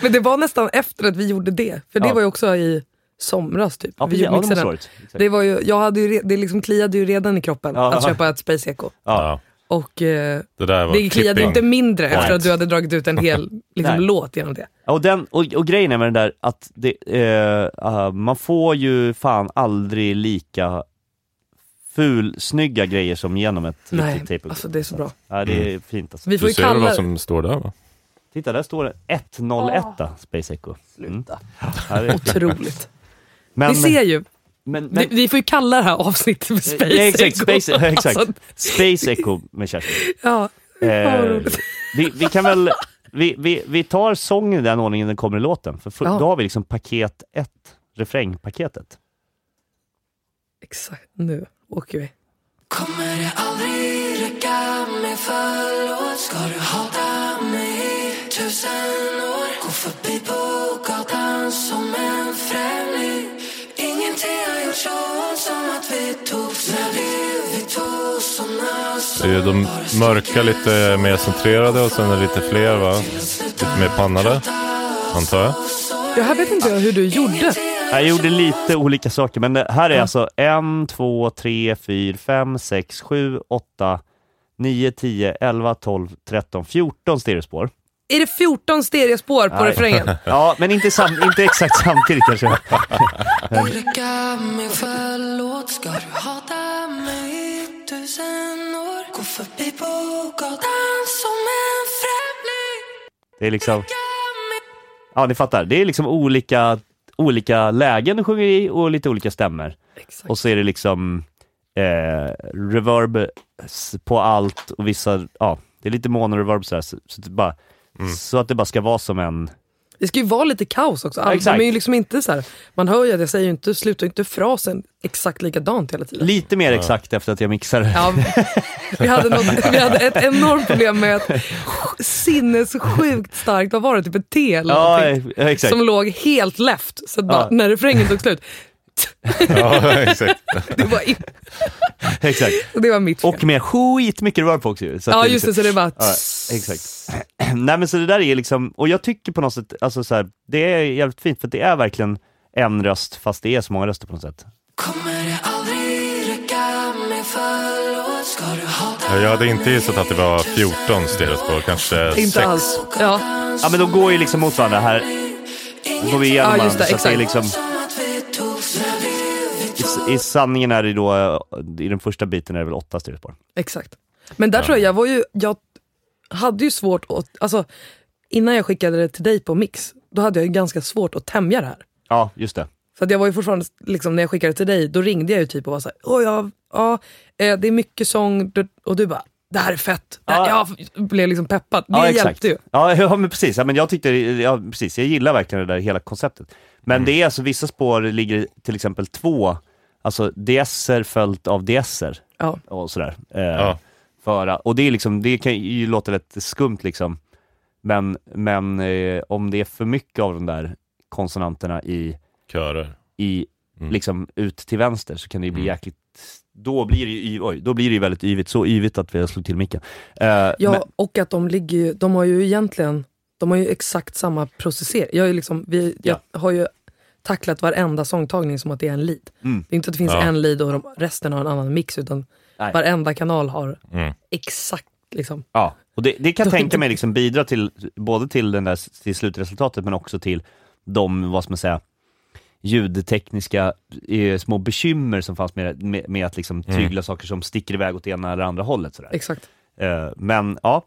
S2: men det var nästan efter att vi gjorde det, för det
S1: Ja.
S2: var ju också i somras typ.
S1: Ja,
S2: vi
S1: precis, ja, det
S2: mixade
S1: måste
S2: den.
S1: varit. Exakt.
S2: Det, var ju, jag hade ju, re- det liksom kliade ju redan i kroppen
S1: Typ. Ja.
S2: att köpa ett Space Echo.
S1: ja.
S3: Ja.
S2: Och eh,
S3: Det där var
S2: det kliade ju
S3: klipping.
S2: inte mindre efter
S1: Nej.
S2: att du hade dragit ut en hel liksom,
S1: Nej.
S2: låt genom det.
S1: Ja, Och, den, och, och grejen är med den där att det, eh, ah, man får ju fan aldrig lika ful, snygga grejer som genom ett
S2: Nej,
S1: riktigt tejp.
S2: alltså det är så bra.
S1: Ja, det är fint alltså.
S2: Vi får
S3: Du
S2: ju
S3: ser väl
S2: kalla
S3: vad som står där va?
S1: Titta, där står det 101 Space Echo. Mm.
S2: Sluta.
S1: Ja, det-
S2: Otroligt.
S1: Men,
S2: Vi ser ju.
S1: men, men,
S2: Vi, vi får ju kalla det här avsnittet för Space
S1: ja, exakt,
S2: Echo.
S1: Space, ja, exakt.
S2: Alltså,
S1: Space Echo med Kerstin.
S2: ja, fan vad
S1: Eh,
S2: roligt.
S1: vi, vi kan väl, vi, vi, vi tar sången i den ordningen den kommer i låten. För, för
S2: Ja.
S1: då har vi liksom paket 1, refrängpaketet.
S2: exakt, nu åker vi.
S4: Kommer det aldrig räcka med förlåt? Ska du hata mig i tusen år? Gå förbi på gatan som en främling Ingenting har gjort så ont som att vi togs När det vi två såna
S3: Det är ju de mörka lite mer centrerade och sen är det lite fler va? Lite mer pannade, antar jag.
S2: Jag här vet inte jag hur du gjorde.
S1: Jag gjorde lite olika saker, men det här är alltså 1, 2, 3, 4, 5, 6, 7, 8, 9, 10, 11, 12, 13, 14 stereospår.
S2: Är det 14 stereospår på
S1: Nej.
S2: refrängen?
S1: Ja, men inte, sam- inte exakt samtidigt kanske.
S4: Räcka med förlåt? Ska du hata mig i tusen år? Gå förbi på gatan som en främling
S1: Det är liksom,
S4: Räcka med
S1: ja ni fattar, det är liksom olika, olika lägen du sjunger i och lite olika stämmor.
S2: Exakt.
S1: Och så är det liksom eh, reverb s- på allt och vissa, ja, det är lite monoreverb sådär. Så, så, att det bara,
S2: Mm.
S1: så att det bara ska vara som en
S2: Det ska ju vara lite kaos också. All,
S1: Exakt.
S2: de är ju liksom inte så här, man hör ju att jag säger ju inte, slutar ju inte frasen exakt likadant hela tiden.
S1: Lite mer exakt efter att jag mixar det.
S2: Ja, vi, hade något, vi hade ett enormt problem med ett sinnessjukt starkt, vad var det, typ ett T eller
S1: Ja,
S2: någonting,
S1: eh, exakt.
S2: som låg helt left. Så att bara,
S1: Ja.
S2: när refrängen tog slut,
S3: Ja, exakt.
S2: det var, in,
S1: exakt.
S2: det var mitt fel.
S1: Och med skitmycket reverb på också ju. Så att
S2: ja
S1: är
S2: just det,
S1: liksom-
S2: så det bara...
S1: Ja, exakt. Nej men så det där är liksom, och jag tycker på något sätt, alltså så här, det är jävligt fint för det är verkligen en röst fast det är så många röster på något sätt.
S4: Kommer det aldrig räcka med förlåt? Ska du hata
S3: Jag hade inte gissat att det var 14 stereospår, kanske
S2: Inte
S3: 6.
S2: alls. Ja.
S1: Ja men de går ju liksom mot varandra här, går vi igenom
S2: Ja,
S1: varandra.
S2: just det,
S1: så att det är
S2: exakt.
S1: liksom,
S4: Som att vi togs när vi vi två
S1: i, I sanningen är det då, eh, i den första biten är det väl åtta stereospår.
S2: Exakt. Men där tror jag, jag var ju, jag hade ju svårt att, alltså innan jag skickade det till dig på mix, då hade jag ju ganska svårt att tämja det här.
S1: Ja, just det.
S2: Så att jag var ju fortfarande, liksom, när jag skickade det till dig, då ringde jag ju typ och var såhär, åh ja, ja eh, det är mycket sång, och du bara, det här är fett. Det här,
S1: Ja.
S2: Jag blev liksom peppad. Det
S1: ja, exakt.
S2: hjälpte ju.
S1: Ja, ja, men precis. Ja, men jag, tyckte, ja, precis. jag gillar verkligen det där hela konceptet. Men
S2: Mm.
S1: det är alltså, vissa spår ligger till exempel två, alltså DS-er följt av DS-er
S2: Ja.
S1: och sådär. Eh,
S3: Ja.
S1: föra. Och det, är liksom, det kan ju låta lite skumt liksom. Men, men eh, om det är för mycket av de där konsonanterna i,
S3: Körer.
S1: i
S3: Mm.
S1: liksom ut till vänster så kan det ju bli
S3: Mm.
S1: jäkligt då blir det ju, y- oj, då blir det ju väldigt yvigt, så yvigt att vi slog till micken. Eh,
S2: Ja,
S1: men-
S2: och att de ligger ju, de har ju egentligen, de har ju exakt samma processering. Jag, är ju liksom, vi, jag har ju tacklat varenda sångtagning som att det är en lead.
S1: Mm.
S2: Det är inte att det finns
S3: Ja.
S2: en lead och de, resten har en annan mix, utan
S1: Nej.
S2: varenda kanal har
S3: Mm.
S2: exakt liksom.
S1: Ja, och det, det kan jag
S2: Då-
S1: tänka mig liksom bidra till, både till, den där, till slutresultatet men också till de, vad ska man säga, ljudtekniska eh, små bekymmer som fanns med, med, med att liksom
S3: Mm.
S1: tygla saker som sticker iväg åt ena eller andra hållet. Sådär.
S2: Exakt.
S1: Eh, men ja,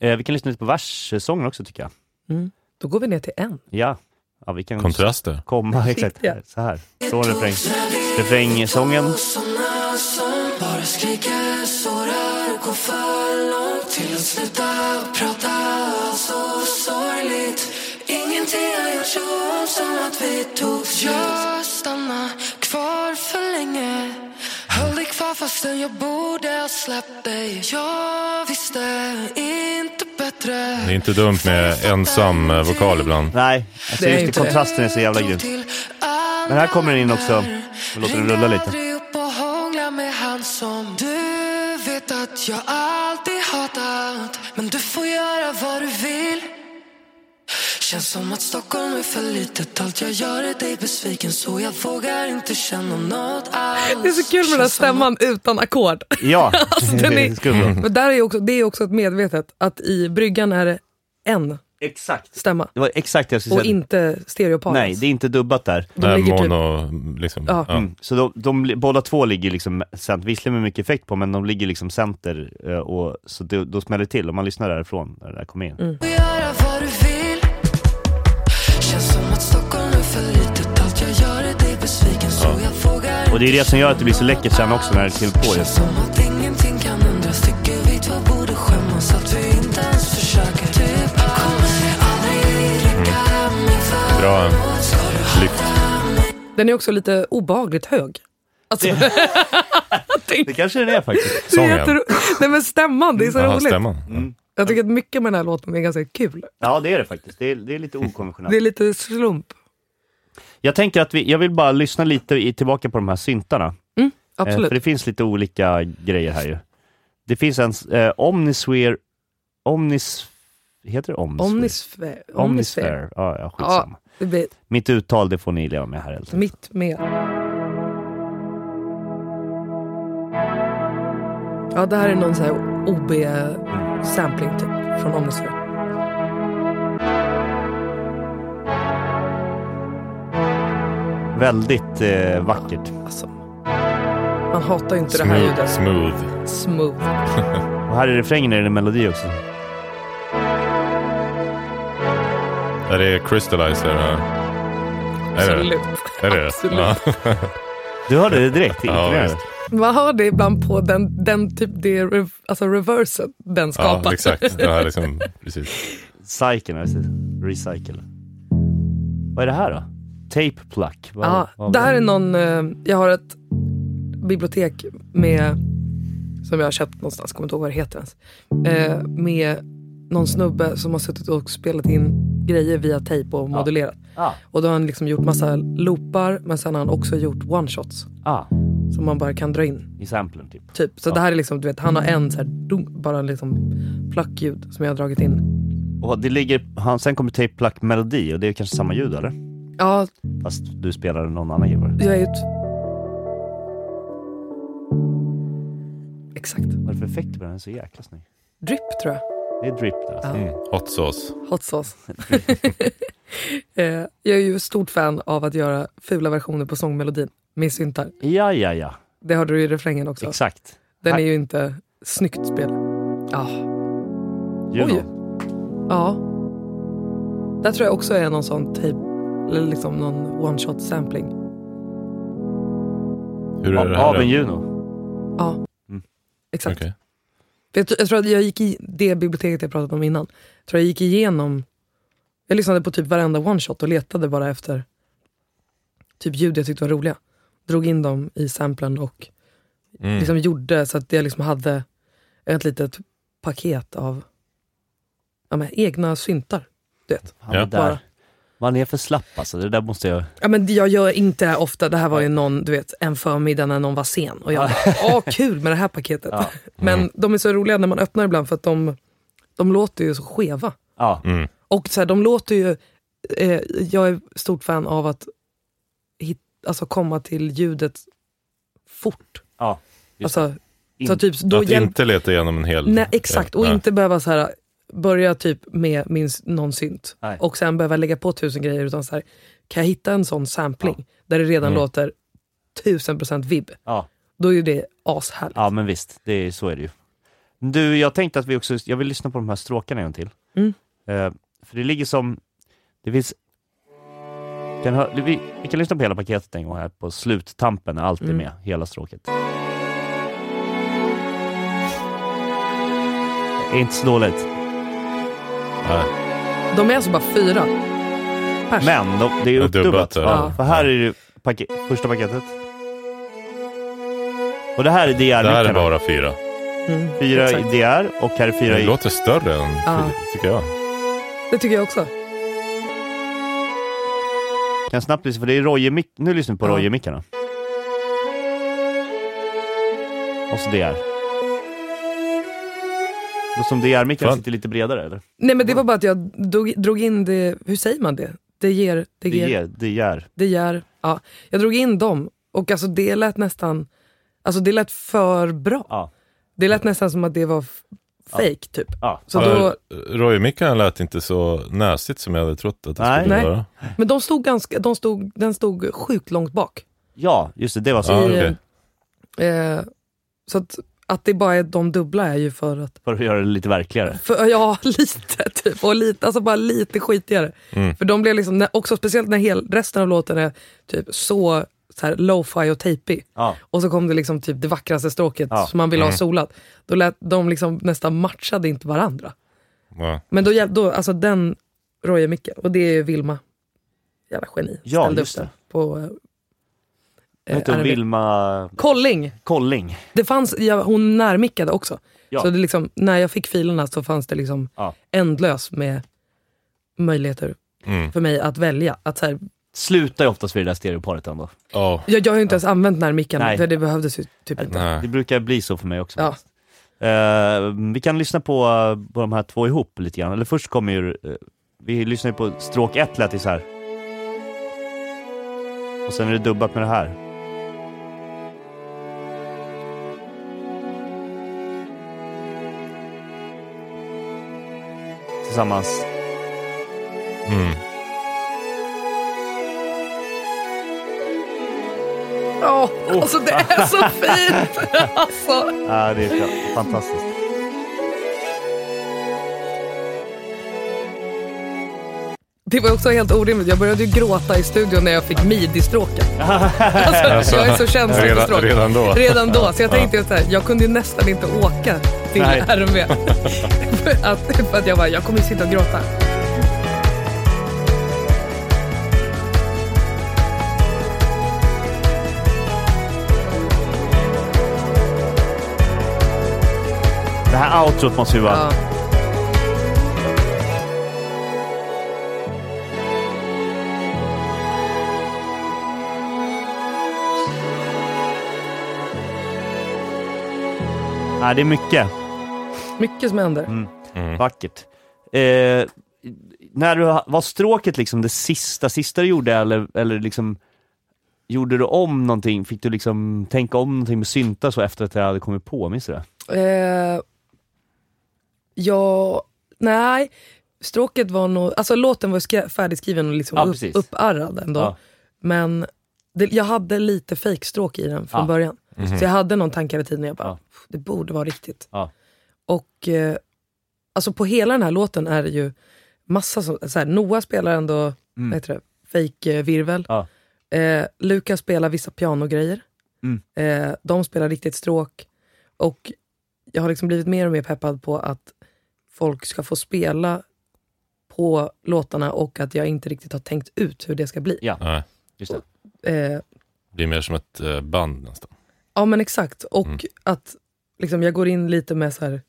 S1: eh, vi kan lyssna lite på verssången också tycker jag.
S2: Då går vi ner till en.
S1: Ja, ja vi kan
S3: Kontraster.
S1: komma exakt
S2: Riktiga.
S1: här, så här. Från refräng. Refrängsången.
S4: Såna som bara skriker, sårar och går för långt till att sluta prata så sorgligt Ingenting har gjorts om som att vi tog slut Jag stannar kvar för länge Höll dig kvar fastän jag borde ha släppt dig Jag visste inte bättre
S3: Det är inte dumt med ensam eh, vokal ibland.
S1: Nej, alltså
S2: Det är
S1: just det,
S2: inte det.
S1: kontrasten är så jävla grym.
S4: Men här kommer den in också.
S1: Vi låter
S4: Vi låter
S1: den
S4: den
S1: rulla
S4: rulla
S1: lite.
S4: lite. med han som du vet att jag alltid hatat. Men du får göra vad du vill. Känns som att Stockholm är för litet. Allt jag gör är dig besviken. Så jag vågar inte känna något alls.
S2: Det är så kul med den här
S4: Känns som att-
S2: stämman utan ackord.
S1: Ja,
S2: den är-
S1: Skum då.
S2: Men där är ju också, det är också ett medvetet, att i bryggan är det en
S1: Exakt.
S2: stämma
S1: Det var exakt det jag skulle
S2: och
S1: säga.
S2: inte stereopar.
S1: Nej, det är inte dubbat där.
S2: De
S3: Nej,
S2: ligger typ-
S3: mono, liksom.
S2: Ja.
S3: Ja.
S1: Mm. Så de, de, li- båda två ligger liksom cent, visserligen med mycket effekt på, men de ligger liksom center, eh, och, så det, då smäller det till om man lyssnar därifrån, när det där kommer in.
S2: Mm.
S4: får göra vad du vill Känns som att Stockholm är för litet Allt jag gör är dig besviken så jag vågar
S1: Och det är det som gör att det blir så läckert sen också, när det kliver på
S4: Känns
S1: just.
S4: som att ingenting kan ändras Tycker vi två borde skämmas Att vi inte ens försöker Typ jag kommer aldrig räcka
S1: Mm.
S4: mig för
S3: Bra
S4: något. Ska du ha
S3: lyft.
S2: Den är också lite obagligt hög. Alltså,
S1: Det kanske den är faktiskt.
S2: det är Mm.
S3: Sången.
S2: jättero- Nej men stämman, det är så
S3: Jaha,
S2: roligt.
S3: stämman.
S2: Jag tycker att mycket med den här låten är ganska kul.
S1: Ja, det är det faktiskt. Det är, det är lite
S2: Det är
S1: okonventionellt.
S2: lite
S1: Eh,
S2: slump.
S1: Jag tänker att vi, jag vill bara lyssna lite i, tillbaka på de här syntarna. Eh,
S2: Absolut.
S1: för det finns lite olika grejer här ju. Det finns en, s- eh, Omnisware, Omnis... Heter det Omnisware?
S2: Omnisfär. Omnisfär.
S1: Omnisfär. Ja, ja, skitsamma.
S2: Ja, det blir
S1: Mitt uttal, det får ni leva med här. Helt.
S2: mitt med. Ja, det här är någon sån här OB-sampling typ från Omnisfär.
S1: Väldigt eh, vackert.
S2: Alltså, man hatar ju inte det här
S3: Smooth.
S2: ljudet.
S3: Smooth.
S2: Smooth.
S1: Och här i refrängen är det melodi också.
S3: Är det crystallizer här? Är det
S2: Absolut.
S3: Är det?
S2: Absolut.
S3: Ja.
S1: Du hörde det direkt?
S3: Ja,
S1: Imponerande.
S3: visst.
S2: Man hör det ibland på den, den typ, det rev, alltså reversen den skapar.
S3: ja, exakt. Det här liksom, precis.
S1: Cycle, ja, precis. Recycle. Vad är det här då? Tape pluck? Vad,
S2: Ja,
S1: vad-
S2: det här är någon, eh, jag har ett bibliotek med, som jag har köpt någonstans, kommer inte ihåg vad det heter ens. Eh, med någon snubbe som har suttit och spelat in grejer via tejp och modulerat.
S1: Ah,
S2: Och då har han liksom gjort massa loopar, men sen har han också gjort one-shots.
S1: ah,
S2: Som man bara kan dra in.
S1: i samplen typ.
S2: Typ. Så det här är liksom, du vet, han har en så här, dunk, bara liksom pluckljud som jag har dragit in.
S1: Och det ligger, han, sen kommer tape pluck melodi och det är kanske samma ljud eller?
S2: Ja,
S1: Fast du spelar någon annan givare.
S2: jag är ju... ett- Exakt.
S1: Vad är det för effekt på den? Den är så jäkla snygg.
S2: Drip tror jag.
S1: Det är drip där. Alltså.
S3: Mm. Hot sauce.
S2: Hot sauce. eh, jag är ju stort fan av att göra fula versioner på sångmelodin med syntar.
S1: Ja, ja, ja.
S2: Det hörde du i refrängen också.
S1: Exakt.
S2: Den är
S1: Här-
S2: ju inte snyggt spel. Ja.
S1: You
S2: Oj.
S1: know.
S2: ja. Där tror jag också är någon sån typ, eller liksom någon one shot sampling.
S3: Hur är det
S1: Av, av en
S3: här? då?
S1: Juno.
S2: Ja, exakt.
S3: Okej.
S2: Jag, tror- jag tror att jag gick i det biblioteket jag pratat om innan. Jag tror jag gick igenom, jag lyssnade på typ varenda one-shot och letade bara efter typ ljud jag tyckte var roliga. Drog in dem i samplen och
S3: Mm.
S2: liksom gjorde så att jag liksom hade ett litet paket av ja, men, egna syntar. Du vet.
S1: Han
S3: Ja.
S1: är där.
S2: Bara.
S1: Man är för slapp alltså, det där måste jag...
S2: Ja, men jag gör inte det här ofta, det här var ju någon, du vet, en förmiddag när någon var sen och jag bara, åh kul med det här paketet.
S1: Ja. Mm.
S2: Men de är så roliga när man öppnar ibland för att de, de låter ju så skeva.
S1: Ja,
S3: Mm.
S2: Och så här, de låter ju, eh, jag är stort fan av att hit, alltså komma till ljudet fort.
S1: ja. Just
S2: Alltså,
S1: det.
S2: så
S1: In-
S2: typ, då
S3: Att
S2: jäm-
S3: inte leta igenom en hel...
S2: Nej, exakt. Och
S3: Nej.
S2: inte behöva så här, börja typ med min, s- någon synt
S1: Nej.
S2: och sen behöva lägga på tusen grejer. Utan så här, kan jag hitta en sån sampling där det
S1: Mm.
S2: redan låter tusen procent vibb,
S1: Ja.
S2: då är ju det ashärligt.
S1: ja, men visst, det är, så är det ju. Du, jag tänkte att vi också, jag vill lyssna på de här stråkarna en gång till.
S2: Mm.
S1: Eh, för det ligger som, det finns... Kan hö- vi, vi kan lyssna på hela paketet en gång här på sluttampen, när allt
S2: Mm.
S1: är med, hela stråket. Det är inte så dåligt,
S3: Nej.
S2: De är alltså bara fyra. Pers.
S1: men de, det är
S3: Ja,
S1: uppdubbat.
S3: dubbat, ja.
S1: Ja, för här är det pake- första paketet. Och det här är
S3: Det här är
S1: DR-nycklarna.
S3: bara fyra.
S2: Mm,
S1: Fyra i
S2: exakt.
S1: DR och här är fyra
S3: Det
S1: i...
S3: låter större än
S2: Ja.
S3: fyra, tycker jag.
S2: Det tycker jag också.
S1: Kan jag snabbt lyssna, för det är Roje Nu lyssnar vi på
S2: Ja.
S1: Roje-mickarna. Och så DR. Och som DR-mickarna
S3: Fan.
S1: sitter lite bredare eller?
S2: Nej men det var bara att jag drog, drog in det, hur säger man det? Det ger, det
S1: DR.
S2: ger,
S1: DR.
S2: det ger. Ja. Jag drog in dem och alltså det lät nästan, alltså det lät för bra.
S1: Ja.
S2: Det lät nästan som att det var f- fake typ.
S1: Ja.
S2: Så då,
S3: Roy-mickan lät inte så näsigt som jag hade trott att det
S1: Nej.
S3: skulle
S2: Nej.
S3: göra.
S2: men de stod ganska, de stod, den stod sjukt långt bak.
S1: ja, just det. Det var så.
S3: Ja,
S2: I,
S3: okej.
S2: eh, så att, att det bara är de dubbla är ju för att,
S1: För att göra det lite verkligare.
S2: för, ja lite typ, och lite, alltså bara lite skitigare.
S1: Mm.
S2: För de blev liksom, när- också speciellt när hel, resten av låten är typ så, så här lo-fi och tejpig.
S1: Ja.
S2: Och så kom det liksom typ det vackraste stråket
S1: Ja. Mm.
S2: som man ville ha solat. Då lät de liksom nästan matchade inte varandra.
S3: Ja.
S2: Men då, hjäl- då alltså den rojar mycket. Och det är ju Vilma. Jävla geni.
S1: Ja,
S2: Ställde
S1: just
S2: upp den
S1: det.
S2: på eh,
S1: Hon
S2: eh,
S1: heter
S2: RB.
S1: Vilma
S2: Kolling!
S1: Kolling.
S2: Det fanns, ja, hon närmickade också.
S1: Ja.
S2: Så det liksom, när jag fick filerna så fanns det liksom
S1: Ja.
S2: ändlös med möjligheter
S3: Mm.
S2: för mig att välja. Att så här,
S1: Slutar ju oftast vid det där stereoparet ändå.
S3: Ja.
S2: jag, jag har ju inte ens använt närmickarna
S1: Nej.
S2: för det behövdes ju typ inte.
S1: Det
S3: Nej.
S1: brukar bli så för mig också.
S2: Ja.
S1: Eh, vi kan lyssna på, eh, på de här två ihop lite grann. Eller först kommer ju... eh, vi lyssnar ju på stråk 1 lät det så här. Och sen är det dubbat med det här. Tillsammans.
S3: Mm.
S2: Ja, alltså det är så fint! alltså.
S1: Ja, Äh, det är fa- fantastiskt.
S2: Det var också helt orimligt. Jag började ju gråta i studion när jag fick midi-stråken. Alltså, jag är så känslig för
S3: Redan,
S2: stråk.
S3: redan då.
S2: Redan då. Så jag tänkte ju så här, jag kunde ju nästan inte åka till
S1: Nej.
S2: RMV. för, att, för att jag bara, jag kommer ju sitta och gråta.
S1: Det här outrot måste ju vara...
S2: Ja.
S1: Ja, Äh, det är mycket.
S2: Mycket som händer.
S1: Vackert. Eh, när du, var stråket liksom det sista, sista du gjorde eller, eller liksom Gjorde du om någonting? Fick du liksom tänka om någonting med syntar så efter att jag hade kommit på? Minns du det?
S2: Eh, ja, nej. Stråket var nog, alltså låten var skri- färdigskriven och liksom
S1: Ja,
S2: upp,
S1: precis.
S2: upparrad ändå.
S1: Ja.
S2: Men det, jag hade lite fejkstråk i den från
S1: Ja. Mhm.
S2: början. Så jag hade någon tanke hela tiden och jag bara,
S1: Ja.
S2: "Pff, det borde vara riktigt.
S1: Ja.
S2: Och eh, alltså på hela den här låten är det ju massa som, så här, Noah spelar ändå, vad heter det, fejkvirvel.
S1: Mm. Ja.
S2: Eh, Lukas spelar vissa pianogrejer.
S1: Mm.
S2: Eh, de spelar riktigt stråk. Och jag har liksom blivit mer och mer peppad på att folk ska få spela på låtarna och att jag inte riktigt har tänkt ut hur det ska bli.
S1: Ja,
S3: Nej,
S1: just det.
S2: Eh,
S3: det blir mer som ett eh, band nästan.
S2: ja men exakt. Och
S3: Mm.
S2: att liksom, jag går in lite med så här,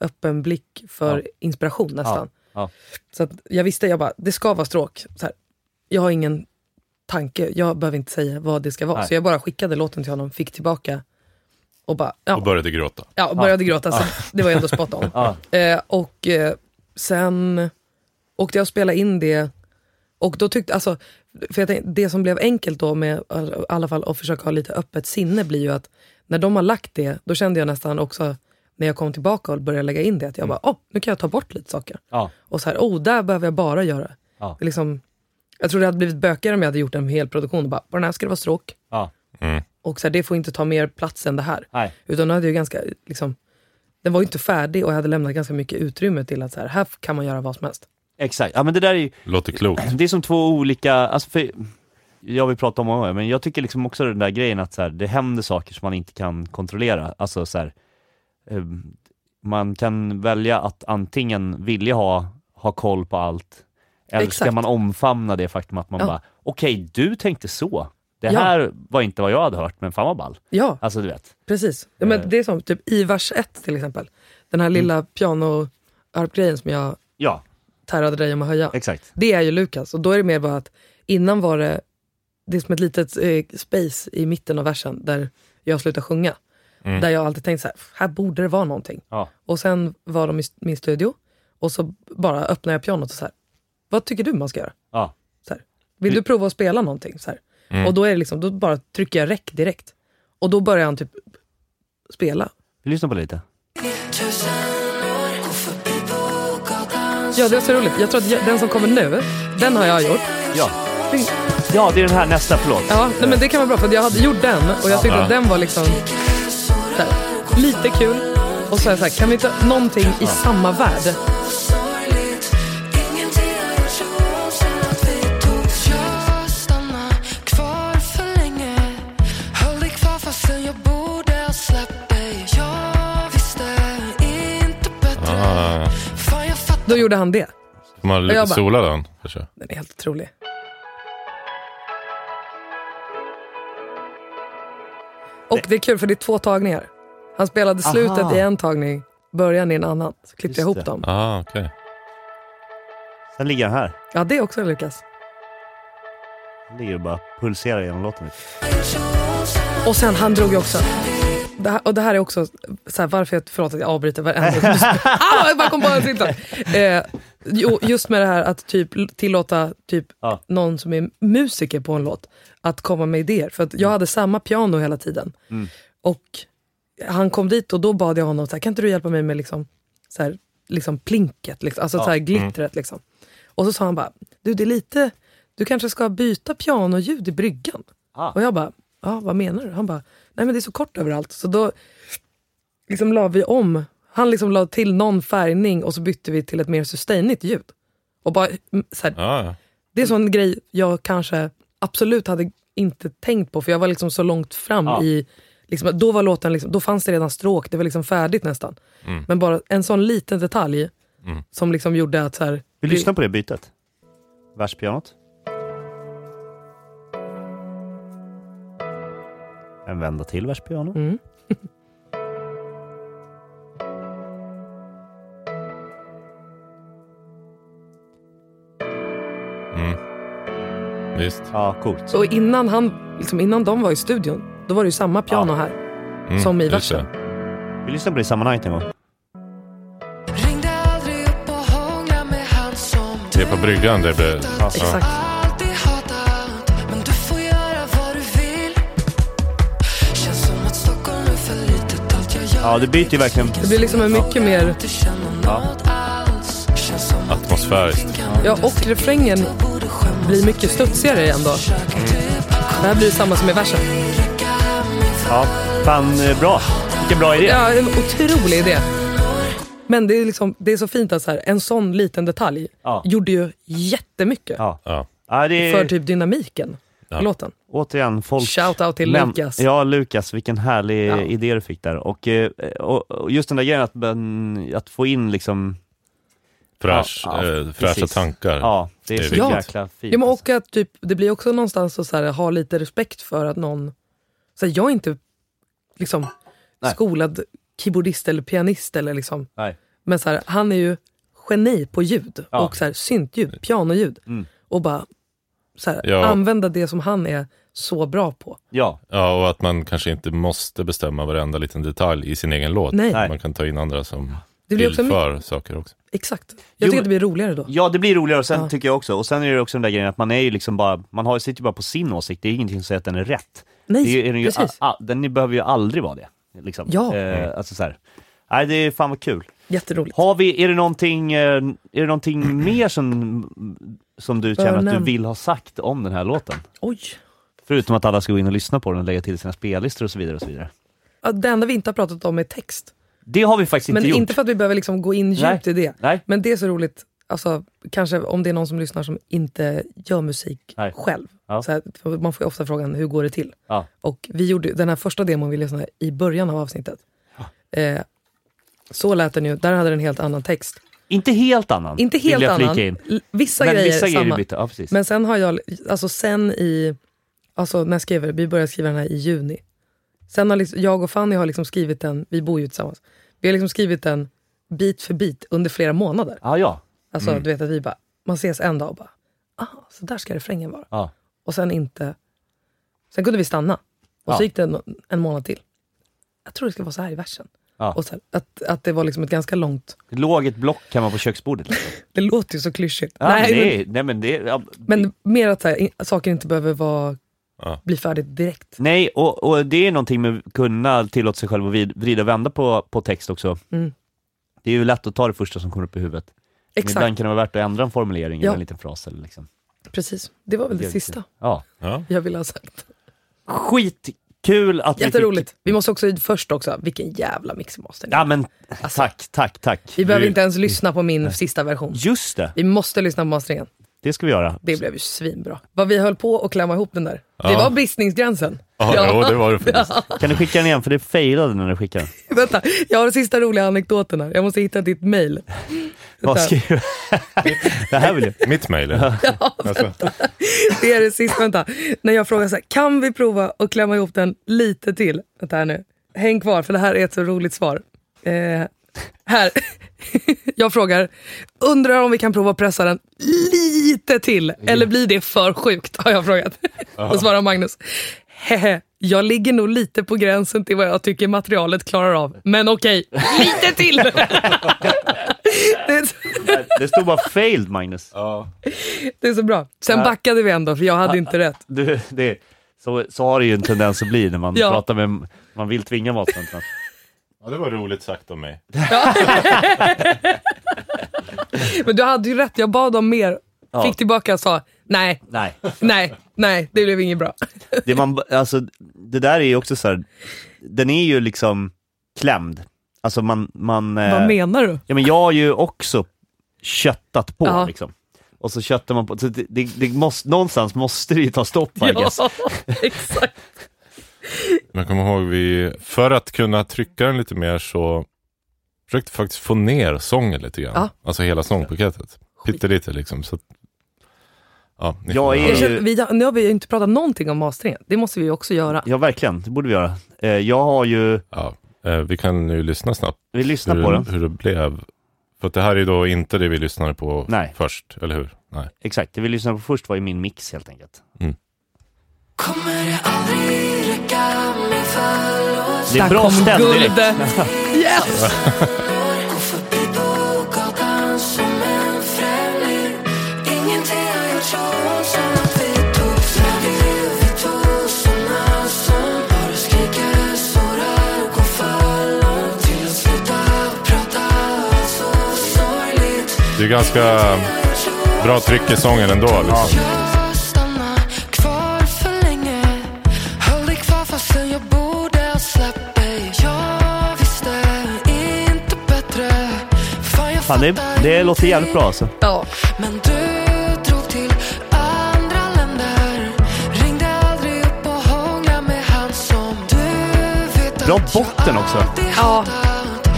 S2: öppen blick för inspiration nästan.
S1: ja.
S2: Så att jag visste, jag bara, det ska vara stråk. Så här, jag har ingen tanke, jag behöver inte säga vad det ska vara.
S1: Nej.
S2: Så jag bara skickade låten till honom, fick tillbaka och bara, ja,
S3: Och började gråta.
S2: Ja, och började gråta. Så det var ju ändå spot on.
S1: Ja.
S2: Eh, och eh, sen åkte jag och spelade in det. Och då tyckte, alltså, för jag tänkte, det som blev enkelt då med i alla fall att försöka ha lite öppet sinne blir ju att när de har lagt det, då kände jag nästan också när jag kom tillbaka och började lägga in det, att jag bara, åh, oh, nu kan jag ta bort lite saker.
S1: Ja.
S2: Och så här, oh, där behöver jag bara göra.
S1: Ja.
S2: Det är Liksom, jag tror det hade blivit bökigare om jag hade gjort en hel produktion och bara, på den här ska det vara stråk.
S1: Ja.
S3: Mm.
S2: Och så här, det får inte ta mer plats än det här.
S1: Nej.
S2: Utan då hade jag ganska, liksom, den var ju inte färdig och jag hade lämnat ganska mycket utrymme till att så här, här kan man göra vad som helst.
S1: Exakt. Ja, men det där är ju,
S3: Låter klokt.
S1: det är som två olika, alltså för, jag vill prata om många gånger, men jag tycker liksom också den där grejen att så här, det händer saker som man inte kan kontrollera. Alltså så här, eh, man kan välja att antingen vilja ha, ha koll på allt, eller ska
S2: Exakt.
S1: man omfamna det faktum att man
S2: Ja.
S1: bara, okej, du tänkte så. Det
S2: Ja.
S1: här var inte vad jag hade hört, men fan vad ball.
S2: Ja,
S1: Alltså du vet.
S2: precis. Ja, men det är som typ i vers 1 till exempel. Den här lilla piano-arpgrejen som jag
S1: Ja,
S2: tärade dig om att höja.
S1: exakt.
S2: Det är ju Lukas och då är det mer bara att innan var det, det är som ett litet eh, space i mitten av versen där jag slutar sjunga. Där jag alltid tänkt så här, här borde det vara någonting.
S1: Ja.
S2: Och sen var de i st- min studio och så bara öppnade jag pianot och så här, vad tycker du man ska göra?
S1: Ja.
S2: Så här, vill du prova att spela någonting? Så här. Och då är det liksom, då bara trycker jag räck direkt. Och då börjar han typ spela.
S1: Vi lyssnar på det lite.
S2: Ja, det var så roligt. Jag tror att jag, den som kommer nu, den har jag gjort.
S1: Ja.
S2: Mm.
S1: ja, det är den här nästa, förlåt.
S2: Ja, nej, men det kan vara bra för att jag hade gjort den och jag tyckte att den var liksom så här, lite kul. Och så är jag så här, kan vi inte ha någonting i samma värld?
S3: Ah,
S2: Då gjorde han det.
S3: får man lite
S2: Jag bara-
S3: sola den kanske?
S2: Den är helt otrolig. Och det är kul för det är två tagningar. Han spelade slutet
S1: Aha.
S2: i en tagning, början i en annan. Så klippte
S1: Just
S2: jag ihop
S1: det.
S2: dem.
S3: Ah, okej.
S1: Sen ligger den här.
S2: Ja, det är också Lukas.
S1: Den ligger och bara pulserar genom låten. lite.
S2: Och sen han drog ju också. Det här, och det här är också så här, varför jag, förlåt att jag avbryter varenda ah, Jag bara kom på en till sak. eh, jo, Just med det här att typ tillåta typ
S1: Ja.
S2: någon som är musiker på en låt att komma med idéer. För att jag hade samma piano hela tiden. Och han kom dit och då bad jag honom, så här, kan inte du hjälpa mig med liksom, så här, liksom plinket, liksom, alltså så här, glittret. Liksom. Och så sa han bara, du det är lite, du kanske ska byta pianoljud i bryggan.
S1: Ah.
S2: Och jag bara, ja vad menar du? Han bara, nej men det är så kort överallt. Så då liksom la vi om, han liksom la till någon färgning och så bytte vi till ett mer sustainigt ljud. Och bara, mm, så här,
S3: Ah, ja.
S2: det är en sån grej jag kanske absolut hade inte tänkt på för jag var liksom så långt fram
S1: Ja.
S2: i... Liksom, då, var låten liksom, då fanns det redan stråk, det var liksom färdigt nästan.
S1: Mm.
S2: Men bara en sån liten detalj som liksom gjorde att... Så här,
S1: Vi lyssnar på det bytet. Verspianot. En vända till verspiano.
S2: Mm.
S3: Mm. Visst.
S1: Ja, coolt.
S2: Så innan, han, liksom, innan de var i studion, då var det ju samma piano
S1: Ja.
S2: här.
S3: Mm,
S2: Som i
S3: just det.
S2: versen.
S1: Vi lyssnar på det i sammanhanget en gång.
S3: Det är på bryggan det blir.
S1: Ja.
S2: Exakt.
S4: Alltid hatat, men du får göra vad du vill. Känns som att Stockholm är för litet, allt jag gör
S1: Ja, det byter ju verkligen.
S2: Det blir liksom en mycket mer...
S4: inte känner något alls. Känns som att
S3: Atmosfäriskt.
S2: Ja, och refrängen
S4: borde skämmas.
S2: blir mycket studsigare igen då. Det här blir samma som i versen.
S1: Ja, fan eh, bra. Vilken bra idé.
S2: Ja, en otrolig idé. Men det är, liksom, det är så fint att så här, en sån liten detalj
S1: Ja.
S2: gjorde ju jättemycket
S1: Ja.
S3: Ja.
S1: Ja, det
S2: för
S1: är...
S2: typ dynamiken i låten.
S1: återigen, folk...
S2: Shoutout till
S1: Läm-
S2: Lukas.
S1: Ja, Lukas. Vilken härlig
S2: Ja.
S1: idé du fick där. Och, eh, och, och just den där grejen att, ben- att få in liksom...
S3: Fräsch,
S1: Ja, ja,
S3: eh, fräscha
S1: precis.
S3: tankar.
S1: Ja, det är,
S3: Det är
S1: så
S2: viktigt.
S1: jäkla fint.
S2: Ja, men
S1: alltså.
S2: och att typ, det blir också någonstans att så här, ha lite respekt för att någon... Så här, jag är inte liksom,
S1: Nej.
S2: skolad keyboardist eller pianist. Eller, liksom.
S1: Nej.
S2: Men så här, han är ju geni på ljud
S1: Ja.
S2: och så här, syntljud, pianoljud.
S1: Mm.
S2: Och bara så här,
S3: Ja.
S2: använda det som han är så bra på.
S1: Ja,
S3: Ja, och att man kanske inte måste bestämma varenda liten detalj i sin egen låt.
S2: Nej.
S1: Nej.
S3: Man kan ta in andra som
S2: Det blir också mycket,
S3: tillför saker också.
S2: exakt.
S1: Jo,
S2: Jag tycker
S1: men-
S2: att det blir roligare då.
S1: ja, det blir roligare och sen
S2: Ja.
S1: tycker jag också. Och sen är det också den där grejen att man är ju liksom bara, man har, sitter ju bara på sin åsikt. Det är ingenting som säger att den är rätt.
S2: Nej,
S1: Det är den, ju, a,
S2: precis.
S1: a, den behöver ju aldrig vara det. Liksom.
S2: Ja.
S1: Eh, alltså så här. Nej, det är fan vad kul.
S2: Jätteroligt.
S1: Har vi, är det någonting, eh, är det någonting mer som, som du känner att du
S2: Örnen.
S1: vill ha sagt om den här låten?
S2: Oj.
S1: Förutom att alla ska gå in och lyssna på den och lägga till sina spellistor och så vidare. och så vidare.
S2: Ja, Det enda vi inte har pratat om är text.
S1: Det har vi faktiskt inte
S2: Men
S1: gjort.
S2: inte för att vi behöver liksom gå in djupt i det.
S1: Nej,
S2: Men det är så roligt, alltså, kanske om det är någon som lyssnar som inte gör musik
S1: Nej.
S2: själv.
S1: Ja.
S2: Så här, för man får ju ofta frågan, hur går det till?
S1: Ja.
S2: Och vi gjorde den här första demon vi lyssnade i början av avsnittet. Eh, så lät den ju, där hade den helt annan text.
S1: inte helt annan.
S2: Inte
S1: vill
S2: helt
S1: jag flika
S2: annan,
S1: In.
S2: L- vissa
S1: Men
S2: grejer
S1: vissa grejer
S2: samma.
S1: är bytta. Ja, precis.
S2: Men sen har jag, alltså sen i, alltså när jag skrev vi började skriva den här i juni. Sen har liksom, jag och Fanny har liksom skrivit den, vi bor ju tillsammans. Vi har liksom skrivit den bit för bit under flera månader.
S1: Ah, ja,
S2: Alltså du vet att vi bara, man ses en dag och bara, aha, så där ska refrängen vara.
S1: ja.
S2: Och sen inte, sen kunde vi stanna. Och
S1: Ja.
S2: så gick det en, en månad till. Jag tror det skulle vara så här i versen.
S1: Ja.
S2: Och sen, att, att det var liksom ett ganska långt,
S1: Det låg ett block kan man på köksbordet. liksom.
S2: det låter ju så klyschigt.
S1: Ja,
S2: Nej, men-
S1: nej, nej, men det... Ja,
S2: Men mer att så här, in, saker inte behöver vara,
S3: Ja.
S2: bli färdigt direkt.
S1: Nej, och, och det är någonting med att kunna tillåta sig själv att vid- vrida och vända på, på text också.
S2: Mm.
S1: Det är ju lätt att ta det första som kommer upp i huvudet. Men
S2: Exakt,
S1: Ibland kan det vara värt att ändra en formulering eller
S2: Ja.
S1: en liten fras. Eller liksom.
S2: precis. Det var väl det
S1: Det är
S2: sista
S1: ja.
S3: Ja.
S2: jag ville ha sagt.
S1: Skitkul att vi fick...
S2: Jätteroligt. Vi måste också först också, vilken jävla mixmaster.
S1: Ja men tack, tack, tack.
S2: Alltså, Vi behöver inte ens lyssna på min sista version.
S1: Just det,
S2: Vi måste lyssna på masteringen.
S1: det ska vi göra.
S2: Det blev ju svinbra. Vad vi höll på att klämma ihop den där. Det
S3: Ja.
S2: var bristningsgränsen.
S3: Ja,
S2: Ja.
S3: Jo, det var det faktiskt.
S1: Kan du skicka den igen? För det failade när du skickade den.
S2: Vänta, jag har den sista roliga anekdoten här. Jag måste hitta ditt mail.
S1: Vad
S2: Vänta.
S1: skriver Det här vill jag.
S3: Mitt mejl. är det. Alltså,
S2: Det är det sista, vänta. När jag frågar så här, kan vi prova att klämma ihop den lite till? Vänta här nu. Häng kvar för det här är ett så roligt svar. Eh, här. Jag frågar, undrar om vi kan prova att pressa den lite till? Eller blir det för sjukt? Har jag frågat. Då svarar Magnus, hehe. Jag ligger nog lite på gränsen till vad jag tycker materialet klarar av. Men okej, lite till! det, är så,
S1: Det stod bara failed Magnus.
S2: det är så bra. Sen
S1: Äh.
S2: backade vi ändå, för jag hade inte rätt.
S1: Du, det, så, så har det ju en tendens att bli när man
S2: Ja.
S1: pratar med, man vill tvinga matcentralen.
S3: ja, det var roligt sagt om mig.
S2: Men du hade ju rätt, jag bad om mer.
S1: Ja.
S2: Fick tillbaka och sa nej,
S1: Nej.
S2: nej, nej, det blev inget bra.
S1: Det, man, alltså, det där är ju också så här, den är ju liksom klämd. Alltså man... man eh,
S2: Vad menar du?
S1: Ja men jag har ju också köttat på
S2: Ja.
S1: liksom. Och så köttar man på, så det, det, det måste, någonstans måste det ju ta stopp I guess.
S2: exakt.
S3: Men kom ihåg, vi, för att kunna trycka den lite mer så försökte jag faktiskt få ner sången lite grann.
S2: Ja.
S3: Alltså hela sångpaketet. Pyttelite liksom. Så att, ja, ni
S1: Jag
S3: får
S1: är-
S3: höra.
S2: Jag känner, vi, nu har vi ju inte pratat någonting om masteringen. Det måste vi ju också göra.
S1: Ja verkligen, det borde vi göra. Eh, jag har ju,
S3: ja, eh, vi kan ju lyssna snabbt
S1: vi
S3: hur,
S1: lyssnar på den.
S3: det- hur det blev. För att det här är då inte det vi lyssnade på
S1: Nej.
S3: först, eller hur? Nej.
S1: Exakt, det vi lyssnade på först var ju min mix helt enkelt.
S4: Kommer det aldrig räcka med förlåt?
S1: Det är
S2: Där
S1: bra
S2: kom
S1: ställ direkt.
S2: guldet. Yes!
S4: Gå förbi på gatan som en främling Ingenting har gjort så ont som att vi tog slut Vi tog såna som bara skriker, sårar och går för långt Till att sluta prata, allt så sorgligt
S3: Det är ganska bra tryck i sången ändå. Liksom.
S4: Jag stannar kvar för länge Höll dig kvar fastän jag borde ha släppt dig Jag visste inte bättre Fan, jag
S1: Fan, det,
S4: fattar
S1: det låter jävligt bra alltså.
S2: Ja,
S4: Men du drog till andra länder Ringde aldrig upp
S1: bra botten också.
S2: Ja.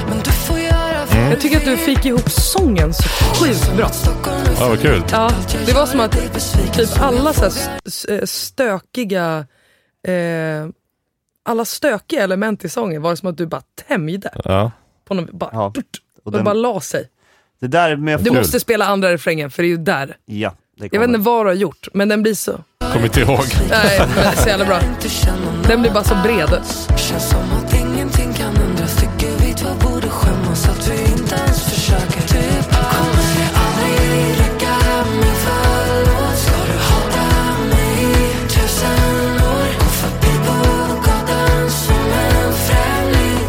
S4: Men du får
S3: Mm.
S4: göra vad
S2: Jag tycker att du fick ihop sången så sjukt bra.
S4: Stockholm
S3: Ja, vad kul.
S2: Ja, det var som att typ alla så här s- s- eh, stökiga eh, alla stökiga element i sången var det som att du bara tämjde
S3: Ja.
S2: på någon, bara,
S1: Ja. Och
S2: och
S1: den,
S2: bara la sig.
S1: det där är med...
S2: Du
S1: fot-
S2: måste spela andra refrängen för det är ju där.
S1: Ja, det
S2: Jag vet
S1: kommer.
S2: inte vad du har gjort, men den blir så...
S3: Kom inte ihåg.
S2: Nej, men det är så jävla bra.
S4: inte känner någon
S2: Den blir bara så bred.
S4: Känns som att ingenting kan ändras Tycker vi två borde skämmas att vi inte ens försöker Typ, kommer det aldrig räcka med förlåt? Ska du hata mig i tusen år? Gå förbi på gatan som en främling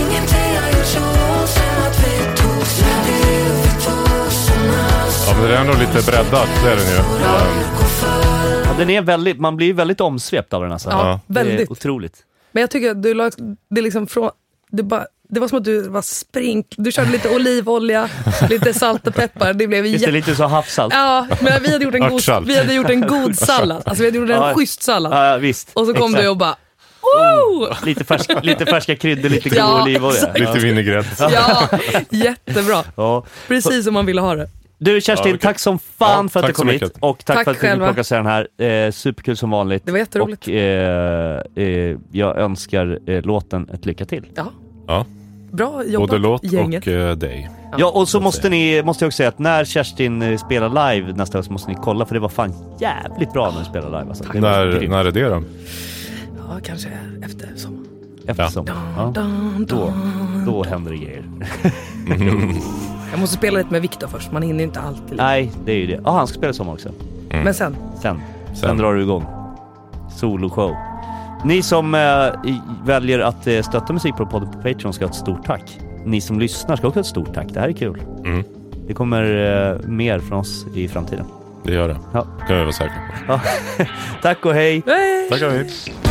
S4: Ingenting har gjort så sen att vi togs När det är vi två som är
S3: Ja, men det är ändå lite breddat. Det är den ju. Ehm,
S1: Ja, den är väldigt, man blir väldigt omsvept av den alltså.
S2: Ja,
S1: Det är
S2: väldigt.
S1: otroligt.
S2: Men jag tycker att du la... Det, är liksom från, det, bara, det var som att du var sprink... Du körde lite olivolja, lite salt och peppar. Det blev
S1: Visst är det
S2: jätte...
S1: lite så havssalt?
S2: Ja, men vi hade gjort en god,
S3: Örtsalt.
S2: vi hade gjort en god sallad. Alltså vi hade gjort en
S1: Ja.
S2: schysst sallad.
S1: Ja, visst.
S2: Och så kom
S1: Exakt.
S2: du och bara... Oh!
S1: Lite, färsk, lite färska kryddor, lite god
S2: Ja,
S1: olivolja.
S2: exakt.
S3: Lite vinägrett.
S2: Ja, jättebra.
S1: Ja.
S2: Precis som man ville ha det.
S1: Du Kerstin,
S3: Ja, vilket-
S1: tack som fan
S3: Ja,
S1: för att du
S3: tack så
S1: kom hit.
S3: mycket.
S1: Och tack,
S2: Tack
S1: för att du fick
S2: själva.
S1: plocka sig den här. Eh, superkul som vanligt.
S2: Det var jätteroligt.
S1: Och eh, eh, jag önskar eh, låten ett lycka till.
S2: Ja.
S3: Ja.
S2: Bra jobbat
S3: Både låt
S2: gänget.
S3: och eh, dig.
S1: Ja, och så måste, ni, måste jag också säga att när Kerstin eh, spelar live nästa gång så måste ni kolla för det var fan jävligt bra när du spelar live. Alltså. Det var
S3: När,
S1: grymt.
S3: när är det då?
S2: Ja, kanske efter sommaren.
S1: Eftersom, ja.
S2: Dun,
S1: Då,
S2: dun.
S1: då händer det grejer.
S2: Jag måste spela lite med Viktor först, man hinner inte alltid.
S1: Nej, det är ju det. Ja, han ska spela i sommar också.
S2: Men sen,
S1: Sen. Sen,
S3: Sen.
S1: drar du igång. Soloshow. Ni som eh, i- väljer att eh, stötta Musikpodden på Patreon ska ha ett stort tack. Ni som lyssnar ska också ha ett stort tack. Det här är kul. Det kommer eh, mer från oss i framtiden.
S3: Det gör det.
S1: Ja.
S3: kan vi vara säkra på.
S1: Tack och hej!
S2: hej!
S3: Tackar vi.